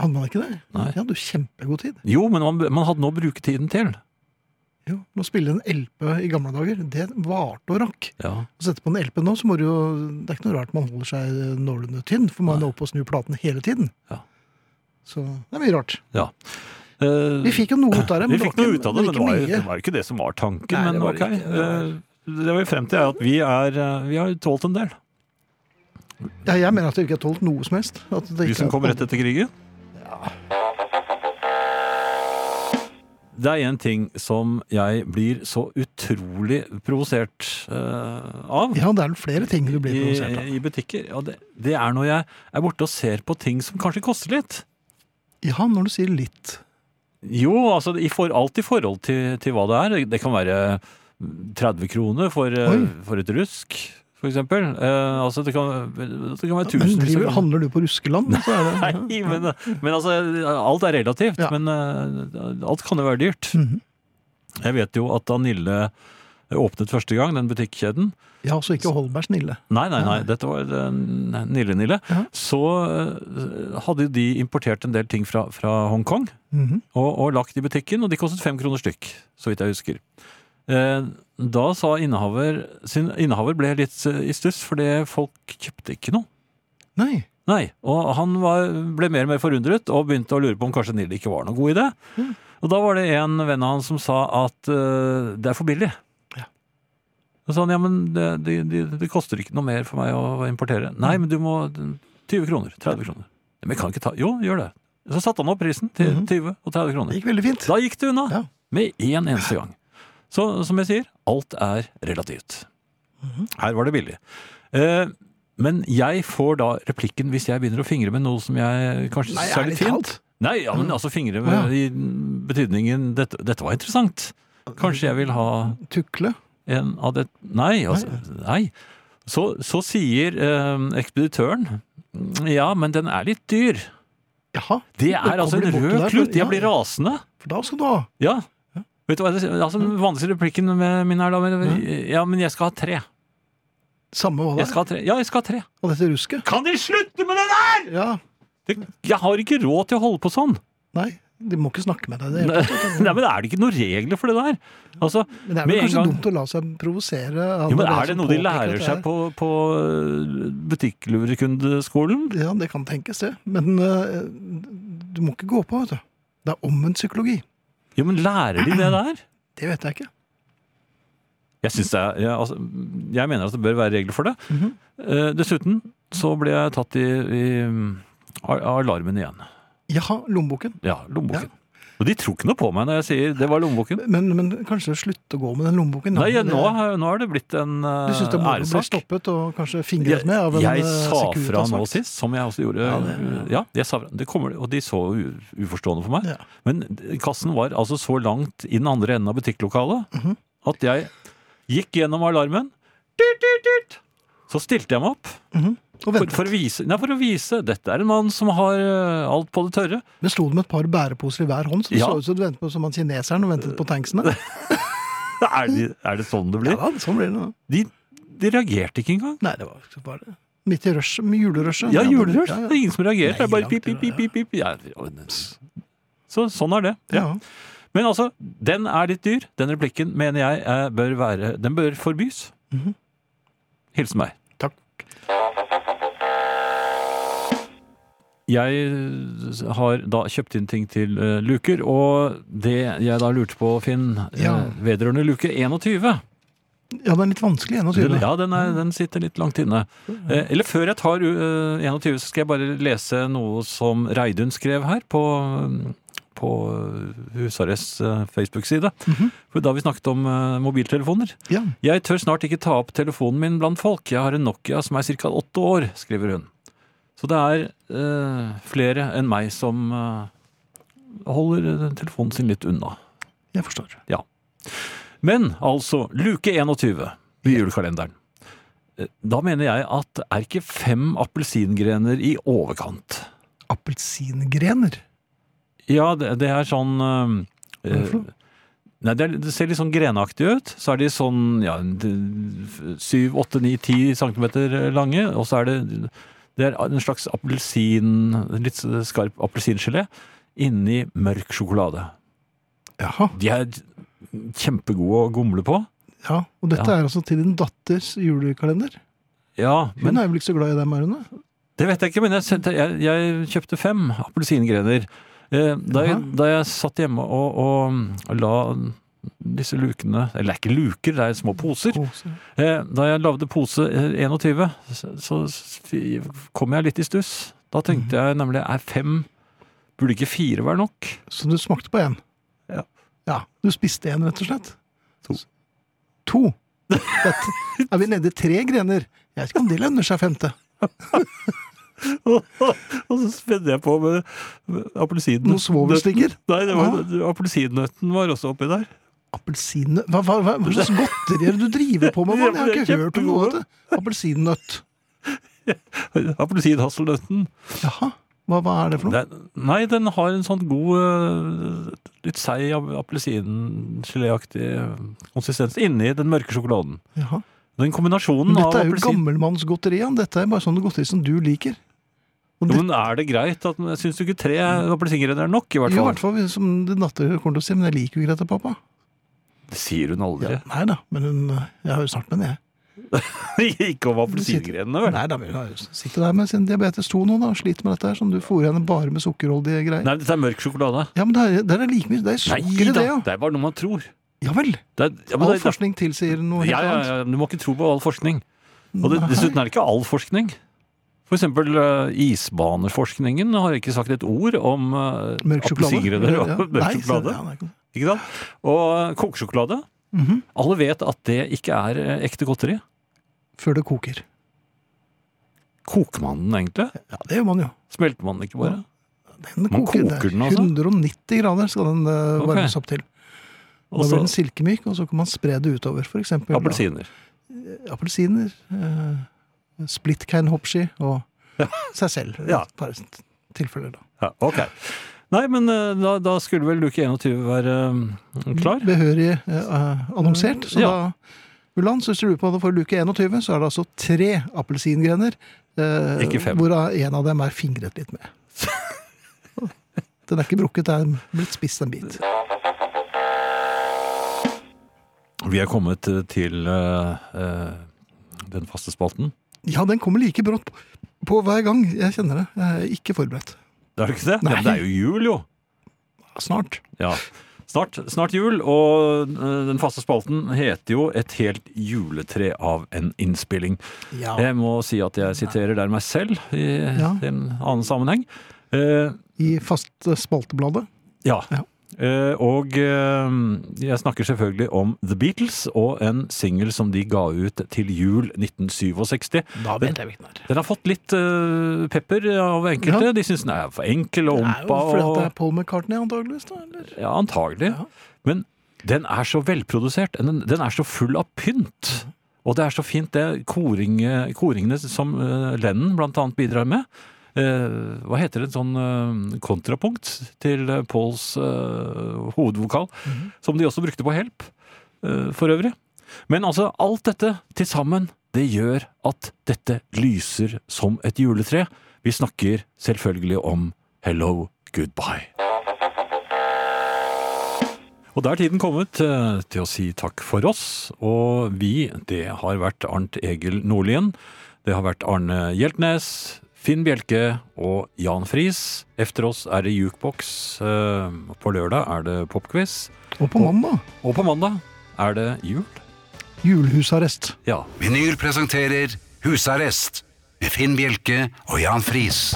[SPEAKER 1] Hadde man ikke det?
[SPEAKER 2] Nei.
[SPEAKER 1] Jeg hadde jo kjempegod tid.
[SPEAKER 2] Jo, men man, man hadde noe å bruke tiden til.
[SPEAKER 1] Jo, Å spille en LP i gamle dager, det varte og rakk.
[SPEAKER 2] Ja.
[SPEAKER 1] Å sette på en LP nå, så må du jo Det er ikke noe rart man holder seg nålende tynn, for man er oppe og snur platen hele tiden.
[SPEAKER 2] Ja.
[SPEAKER 1] Så det er mye rart.
[SPEAKER 2] ja. Eh,
[SPEAKER 1] Vi fikk jo noe ut av det, men
[SPEAKER 2] vi
[SPEAKER 1] det
[SPEAKER 2] fikk
[SPEAKER 1] var
[SPEAKER 2] noe
[SPEAKER 1] ikke,
[SPEAKER 2] ut av det, men det var, jo-
[SPEAKER 1] ikke
[SPEAKER 2] det
[SPEAKER 1] mye.
[SPEAKER 2] var jo ikke det som var tanken.
[SPEAKER 1] Nei, det
[SPEAKER 2] men
[SPEAKER 1] var
[SPEAKER 2] ok.
[SPEAKER 1] det ikke. Det var-
[SPEAKER 2] Eh, Det vi er frem til, er at vi, er, eh, vi har tålt en del.
[SPEAKER 1] Ja, jeg mener at det ikke har tålt noe som helst. At det
[SPEAKER 2] Vi
[SPEAKER 1] ikke
[SPEAKER 2] som
[SPEAKER 1] er-
[SPEAKER 2] kom rett etter krigen. Det er én ting som jeg blir så utrolig provosert eh, av.
[SPEAKER 1] Ja, det er vel flere ting du
[SPEAKER 2] Eh,
[SPEAKER 1] blir provosert av.
[SPEAKER 2] i, i butikker. Ja, det, det er når jeg er borte og ser på ting som kanskje koster litt.
[SPEAKER 1] Ja, når du sier litt.
[SPEAKER 2] Jo, altså i for, alt i forhold til, til hva det er. Det kan være 30 kroner for, eh,
[SPEAKER 1] Oi.
[SPEAKER 2] for et rusk, for eksempel. Eh, altså det kan, det kan være
[SPEAKER 1] Men
[SPEAKER 2] tusenvis
[SPEAKER 1] driver,
[SPEAKER 2] av kroner.
[SPEAKER 1] handler du på ruskeland, så er det
[SPEAKER 2] Nei, men, men altså, alt er relativt.
[SPEAKER 1] Ja.
[SPEAKER 2] Men eh, alt kan jo være dyrt.
[SPEAKER 1] Mhm.
[SPEAKER 2] Jeg vet jo at da Nille åpnet første gang, den butikkjeden,
[SPEAKER 1] Ja, så ikke Holberg snille.
[SPEAKER 2] Nei, nei, nei. Dette var eh, Nille-Nille.
[SPEAKER 1] Ja.
[SPEAKER 2] Så eh, hadde de importert en del ting fra, fra Hongkong
[SPEAKER 1] Mhm.
[SPEAKER 2] og, og lagt i butikken, og de kostet fem kroner stykk, så vidt jeg husker. Eh, Da sa innehaver sin innehaver ble litt eh, i stuss, fordi folk kjøpte ikke noe.
[SPEAKER 1] Nei.
[SPEAKER 2] Nei, og han var, ble mer og mer forundret og begynte å lure på om kanskje Nille ikke var noen god idé. Og da var det en venn av han som sa at eh, det er for billig.
[SPEAKER 1] Ja.
[SPEAKER 2] Da sa han ja, men det, det, det, det koster ikke noe mer for meg å importere. Nei, men du må 20 kroner. 30 kroner. Men jeg kan ikke ta Jo, gjør det. Så satte han opp prisen til 20 og 30 kroner.
[SPEAKER 1] Det gikk veldig fint.
[SPEAKER 2] Da gikk det unna.
[SPEAKER 1] Ja.
[SPEAKER 2] Med én eneste gang.
[SPEAKER 1] Mhm.
[SPEAKER 2] Så som jeg sier, alt er relativt. Her var det billig. Eh, Men jeg får da replikken hvis jeg begynner å fingre med noe som jeg kanskje
[SPEAKER 1] Nei,
[SPEAKER 2] synes er
[SPEAKER 1] ærlig
[SPEAKER 2] litt fint.
[SPEAKER 1] talt. Mm.
[SPEAKER 2] Nei, ja, men altså fingre med,
[SPEAKER 1] Å, ja.
[SPEAKER 2] i betydningen dette, dette var interessant. Kanskje jeg vil ha
[SPEAKER 1] Tukle.
[SPEAKER 2] en av det Nei, altså. Nei. Så, så sier eh, ekspeditøren ja, men den er litt dyr.
[SPEAKER 1] Jaha,
[SPEAKER 2] Det
[SPEAKER 1] Da
[SPEAKER 2] er altså
[SPEAKER 1] kommer de bort
[SPEAKER 2] en rød
[SPEAKER 1] til deg,
[SPEAKER 2] klut.
[SPEAKER 1] ja.
[SPEAKER 2] Jeg blir rasende.
[SPEAKER 1] for da skal du ha.
[SPEAKER 2] Ja. Vet du hva, jeg sier? altså, den vanligste replikken med min er da men, Ja, men jeg skal ha tre.
[SPEAKER 1] Samme hva det
[SPEAKER 2] Jeg
[SPEAKER 1] er.
[SPEAKER 2] skal ha tre. Ja, jeg skal ha tre.
[SPEAKER 1] Og dette rusket.
[SPEAKER 2] Kan de slutte med det der?!
[SPEAKER 1] Ja,
[SPEAKER 2] Det, jeg har ikke råd til å holde på sånn.
[SPEAKER 1] nei, de må ikke snakke med deg. Det.
[SPEAKER 2] Nei, men er det ikke sånn. noen regler for det der? Altså,
[SPEAKER 1] Men det er
[SPEAKER 2] med
[SPEAKER 1] vel
[SPEAKER 2] en
[SPEAKER 1] kanskje
[SPEAKER 2] gang-
[SPEAKER 1] dumt å la seg provosere. av
[SPEAKER 2] jo, men
[SPEAKER 1] som
[SPEAKER 2] er det noe de
[SPEAKER 1] påpeker at
[SPEAKER 2] lærer
[SPEAKER 1] det
[SPEAKER 2] seg
[SPEAKER 1] er-
[SPEAKER 2] på, på øh, butikklurekundeskolen?
[SPEAKER 1] Ja, det kan tenkes det. Men eh, du må ikke gå på, vet du. Det er omvendt psykologi.
[SPEAKER 2] Jo, men lærer de det der?
[SPEAKER 1] Det vet jeg ikke.
[SPEAKER 2] Jeg, synes det er, jeg, altså, jeg mener at det bør være regler for det. Eh, dessuten så ble jeg tatt i, i mm, a- alarmen igjen.
[SPEAKER 1] Jaha, lommeboken.
[SPEAKER 2] Ja, lommeboken. Og de tror ikke noe på meg når jeg sier det var lommeboken.
[SPEAKER 1] Men, men kanskje slutte å gå med den lommeboken? da.
[SPEAKER 2] Nei, jeg,
[SPEAKER 1] Det-
[SPEAKER 2] nå, har- nå har det blitt en eh,
[SPEAKER 1] Du syns det må bli
[SPEAKER 2] æresak.
[SPEAKER 1] stoppet og kanskje
[SPEAKER 2] Jeg,
[SPEAKER 1] fingret med av en
[SPEAKER 2] jeg
[SPEAKER 1] eh,
[SPEAKER 2] sa fra
[SPEAKER 1] Securitas-vakt?
[SPEAKER 2] nå sist, som jeg også gjorde. Ja, jeg sa fra. Det kommer, og de så u uforstående for meg.
[SPEAKER 1] Ja.
[SPEAKER 2] Men kassen var altså så langt i den andre enden av butikklokalet
[SPEAKER 1] Mhm.
[SPEAKER 2] at jeg gikk gjennom alarmen. Dyrt, dyrt, dyrt. Så stilte jeg meg opp
[SPEAKER 1] Og
[SPEAKER 2] for,
[SPEAKER 1] ventet.
[SPEAKER 2] for, å vise, nei, for å vise dette er en mann som har eh, alt på det tørre.
[SPEAKER 1] Men sto det med et par bæreposer i hver hånd, så det
[SPEAKER 2] Ja.
[SPEAKER 1] så ut som du ventet på som han kineseren og ventet på tanksene?
[SPEAKER 2] Er det, er det sånn det
[SPEAKER 1] Ja
[SPEAKER 2] blir?
[SPEAKER 1] da, sånn blir det nå.
[SPEAKER 2] De, de reagerte ikke engang.
[SPEAKER 1] Nei, det var ikke bare Midt i rushet, med julerushet.
[SPEAKER 2] Ja,
[SPEAKER 1] da-
[SPEAKER 2] julerush.
[SPEAKER 1] Ja,
[SPEAKER 2] Det er
[SPEAKER 1] ja.
[SPEAKER 2] ingen som reagerer.
[SPEAKER 1] Nei,
[SPEAKER 2] Det er bare
[SPEAKER 1] langt
[SPEAKER 2] pip,
[SPEAKER 1] unna,
[SPEAKER 2] pip, pip, pip, pip. Ja, ja. Så sånn er det.
[SPEAKER 1] ja.
[SPEAKER 2] Men altså, den er litt dyr. Den replikken mener jeg eh, bør være Den bør forbys.
[SPEAKER 1] Mhm.
[SPEAKER 2] Hilsen meg.
[SPEAKER 1] Takk.
[SPEAKER 2] Jeg har da kjøpt inn ting til eh, luker, og det jeg da lurte på, Finn, eh,
[SPEAKER 1] Ja.
[SPEAKER 2] vedrørende luke 21
[SPEAKER 1] Ja, det er litt vanskelig, 21.
[SPEAKER 2] den, Ja, den, er, den sitter litt langt inne. Eh, Eller før jeg tar eh, 21, så skal jeg bare lese noe som Reidun skrev her på, på Husarrests eh, Facebook-side. For Da vi snakket om eh, mobiltelefoner.
[SPEAKER 1] Ja.
[SPEAKER 2] Jeg tør snart ikke ta opp telefonen min blant folk. Jeg har en Nokia som er ca. åtte år, skriver hun. Så det er eh, flere enn meg som eh, holder eh, telefonen sin litt unna.
[SPEAKER 1] Jeg forstår.
[SPEAKER 2] Men altså, luke 21 i julekalenderen. Eh, Da mener jeg at er ikke fem appelsingrener i overkant?
[SPEAKER 1] Appelsingrener.
[SPEAKER 2] Ja, det, det er sånn eh,
[SPEAKER 1] Hva for noe?
[SPEAKER 2] Nei, det, er, det ser litt sånn grenaktig ut. Så er de sånn ja, 7-8-9-10 cm lange. Og så er det, det er en slags appelsin Litt skarp appelsingelé inni mørk sjokolade.
[SPEAKER 1] Jaha.
[SPEAKER 2] De er kjempegode å gomle på.
[SPEAKER 1] Ja. Og dette
[SPEAKER 2] Ja.
[SPEAKER 1] er altså til din datters julekalender.
[SPEAKER 2] Ja,
[SPEAKER 1] Hun
[SPEAKER 2] men
[SPEAKER 1] er vel ikke så glad i dem, er hun det?
[SPEAKER 2] Det vet jeg ikke, men jeg, sendte, jeg, jeg kjøpte fem appelsingrener. Eh, da, jeg,
[SPEAKER 1] Jaha.
[SPEAKER 2] da jeg satt hjemme og, og la disse lukene Eller det er ikke luker, det er små poser.
[SPEAKER 1] Poser.
[SPEAKER 2] Eh, da jeg lagde pose eh, 21, så, så f- kom jeg litt i stuss. Da tenkte jeg nemlig er fem Burde ikke fire være nok?
[SPEAKER 1] Så du smakte på én?
[SPEAKER 2] Ja.
[SPEAKER 1] ja. Du spiste én, rett og slett?
[SPEAKER 2] To.
[SPEAKER 1] To? Dette, er vi nede i tre grener? Jeg vet ikke om det lønner seg femte.
[SPEAKER 2] og så spedde jeg på med, med
[SPEAKER 1] Noen svovelstikker?
[SPEAKER 2] Nei, det var-
[SPEAKER 1] Ah.
[SPEAKER 2] appelsinnøtten var også oppi der.
[SPEAKER 1] Appelsin... Hva, hva, hva, hva slags godteri er det du driver på med? Mann? Jeg har
[SPEAKER 2] Ja,
[SPEAKER 1] ikke hørt om noe av det. Appelsinnøtt.
[SPEAKER 2] Appelsinhasselnøtten.
[SPEAKER 1] Jaha. Hva, hva er det for noe?
[SPEAKER 2] Det, nei, den har en sånn god, øh, litt seig ap- appelsingeléaktig øh, konsistens inni den mørke sjokoladen.
[SPEAKER 1] Jaha.
[SPEAKER 2] Den kombinasjonen
[SPEAKER 1] Men
[SPEAKER 2] av
[SPEAKER 1] dette er jo
[SPEAKER 2] appelsin
[SPEAKER 1] gammelmannsgodteri. Jan. Dette er bare sånne godteri som du liker.
[SPEAKER 2] Jo, Men er det greit? at Syns du ikke tre appelsingrener er nok? i hvert
[SPEAKER 1] Jo, I
[SPEAKER 2] fall?
[SPEAKER 1] hvert fall som din datter kommer til å si, men jeg liker jo Grete, pappa.
[SPEAKER 2] Det sier hun aldri.
[SPEAKER 1] Ja, nei da, men hun Jeg har jo snart med den, jeg.
[SPEAKER 2] ikke om appelsingrenene, vel? Nei.
[SPEAKER 1] Nei da, men hun har jo- sitter der med sin diabetes 2 nå, da, og sliter med dette her, som du fôrer henne bare med sukkerholdige greier.
[SPEAKER 2] dette er mørk sjokolade.
[SPEAKER 1] Ja, men det er, det er like mye Det er
[SPEAKER 2] Nei
[SPEAKER 1] sukker i det,
[SPEAKER 2] da!
[SPEAKER 1] ja.
[SPEAKER 2] Det er bare noe man tror.
[SPEAKER 1] Ja vel.
[SPEAKER 2] Det er, ja, men
[SPEAKER 1] All
[SPEAKER 2] det, det,
[SPEAKER 1] forskning tilsier noe helt
[SPEAKER 2] ja, ja,
[SPEAKER 1] annet.
[SPEAKER 2] ja, du må ikke tro på all forskning. Og det, dessuten er det ikke all forskning. For eksempel eh, isbaneforskningen har ikke sagt et ord om eh,
[SPEAKER 1] Mørk sjokolade.
[SPEAKER 2] appelsingrener og
[SPEAKER 1] Ja. Nei,
[SPEAKER 2] mørk sjokolade.
[SPEAKER 1] Ja, nei. Mhm.
[SPEAKER 2] Ikke sant? Og eh, kokesjokolade. Alle vet at det ikke er eh, ekte godteri.
[SPEAKER 1] Før det koker.
[SPEAKER 2] Koker man den egentlig?
[SPEAKER 1] Ja, det gjør man jo.
[SPEAKER 2] Smelter man den ikke bare?
[SPEAKER 1] Den det
[SPEAKER 2] Man koker
[SPEAKER 1] er
[SPEAKER 2] den, altså?
[SPEAKER 1] 190 grader skal den eh,
[SPEAKER 2] Ok.
[SPEAKER 1] varmes opp til. Da
[SPEAKER 2] Og så
[SPEAKER 1] blir den silkemyk, og så kan man spre det utover. For eksempel,
[SPEAKER 2] appelsiner.
[SPEAKER 1] da, Appelsiner. eh, Splitkein hoppski og seg selv. i
[SPEAKER 2] Ja.
[SPEAKER 1] Et par tilfeller, da.
[SPEAKER 2] Ja, ok. Nei, men eh, da, da skulle vel luke 21 være eh, klar?
[SPEAKER 1] Behørig eh, eh, annonsert. Så
[SPEAKER 2] Ja.
[SPEAKER 1] da Ulan, så hvis du lurer på det for luke 21, så er det altså tre appelsingrener. eh,
[SPEAKER 2] Ikke fem.
[SPEAKER 1] Hvorav en av dem er fingret litt med. Den er ikke brukket, det er blitt spist en bit.
[SPEAKER 2] Vi er kommet eh, til eh, eh, den faste spalten.
[SPEAKER 1] Ja, den kommer like brått på hver gang. Jeg kjenner det. Jeg er ikke forberedt.
[SPEAKER 2] Er det ikke det?
[SPEAKER 1] Nei.
[SPEAKER 2] Ja, men det er jo jul, jo!
[SPEAKER 1] Snart.
[SPEAKER 2] Ja. Snart, snart jul, og eh, den faste spalten heter jo 'Et helt juletre av en innspilling'.
[SPEAKER 1] Ja.
[SPEAKER 2] Jeg må si at jeg siterer der meg selv i
[SPEAKER 1] Ja.
[SPEAKER 2] en annen sammenheng. Eh,
[SPEAKER 1] I fast spaltebladet.
[SPEAKER 2] ja.
[SPEAKER 1] Ja.
[SPEAKER 2] Eh, og eh, jeg snakker selvfølgelig om The Beatles og en singel som de ga ut til jul 1967.
[SPEAKER 1] Da
[SPEAKER 2] vet
[SPEAKER 1] jeg hvilken det er.
[SPEAKER 2] Den har fått litt eh, pepper av enkelte.
[SPEAKER 1] Ja.
[SPEAKER 2] De syns den er for enkel og
[SPEAKER 1] Det er jo
[SPEAKER 2] ompa.
[SPEAKER 1] fordi at
[SPEAKER 2] og-
[SPEAKER 1] det er Paul McCartney, antageligvis. da, eller?
[SPEAKER 2] Ja, antagelig.
[SPEAKER 1] Ja.
[SPEAKER 2] Men den er så velprodusert. Den, den er så full av pynt. Og det er så fint, det koring, koringene som eh, Lennon blant annet bidrar med. Eh, hva heter det, en sånn eh, kontrapunkt til eh, Pauls eh, hovedvokal,
[SPEAKER 1] Mhm.
[SPEAKER 2] som de også brukte på Help, eh, for øvrig. Men altså, alt dette til sammen, det gjør at dette lyser som et juletre. Vi snakker selvfølgelig om Hello Goodbye. Og da er tiden kommet eh, til å si takk for oss. Og vi, det har vært Arnt Egil Nordlien. Det har vært Arne Hjeltnes, Finn Bjelke og Jan Friis. Efter oss er det jukebox. eh, På lørdag er det popquiz.
[SPEAKER 1] Og på mandag.
[SPEAKER 2] Og på mandag er det jul.
[SPEAKER 1] Julehusarrest.
[SPEAKER 2] Ja.
[SPEAKER 3] Vinyl presenterer Husarrest med Finn Bjelke og Jan Friis.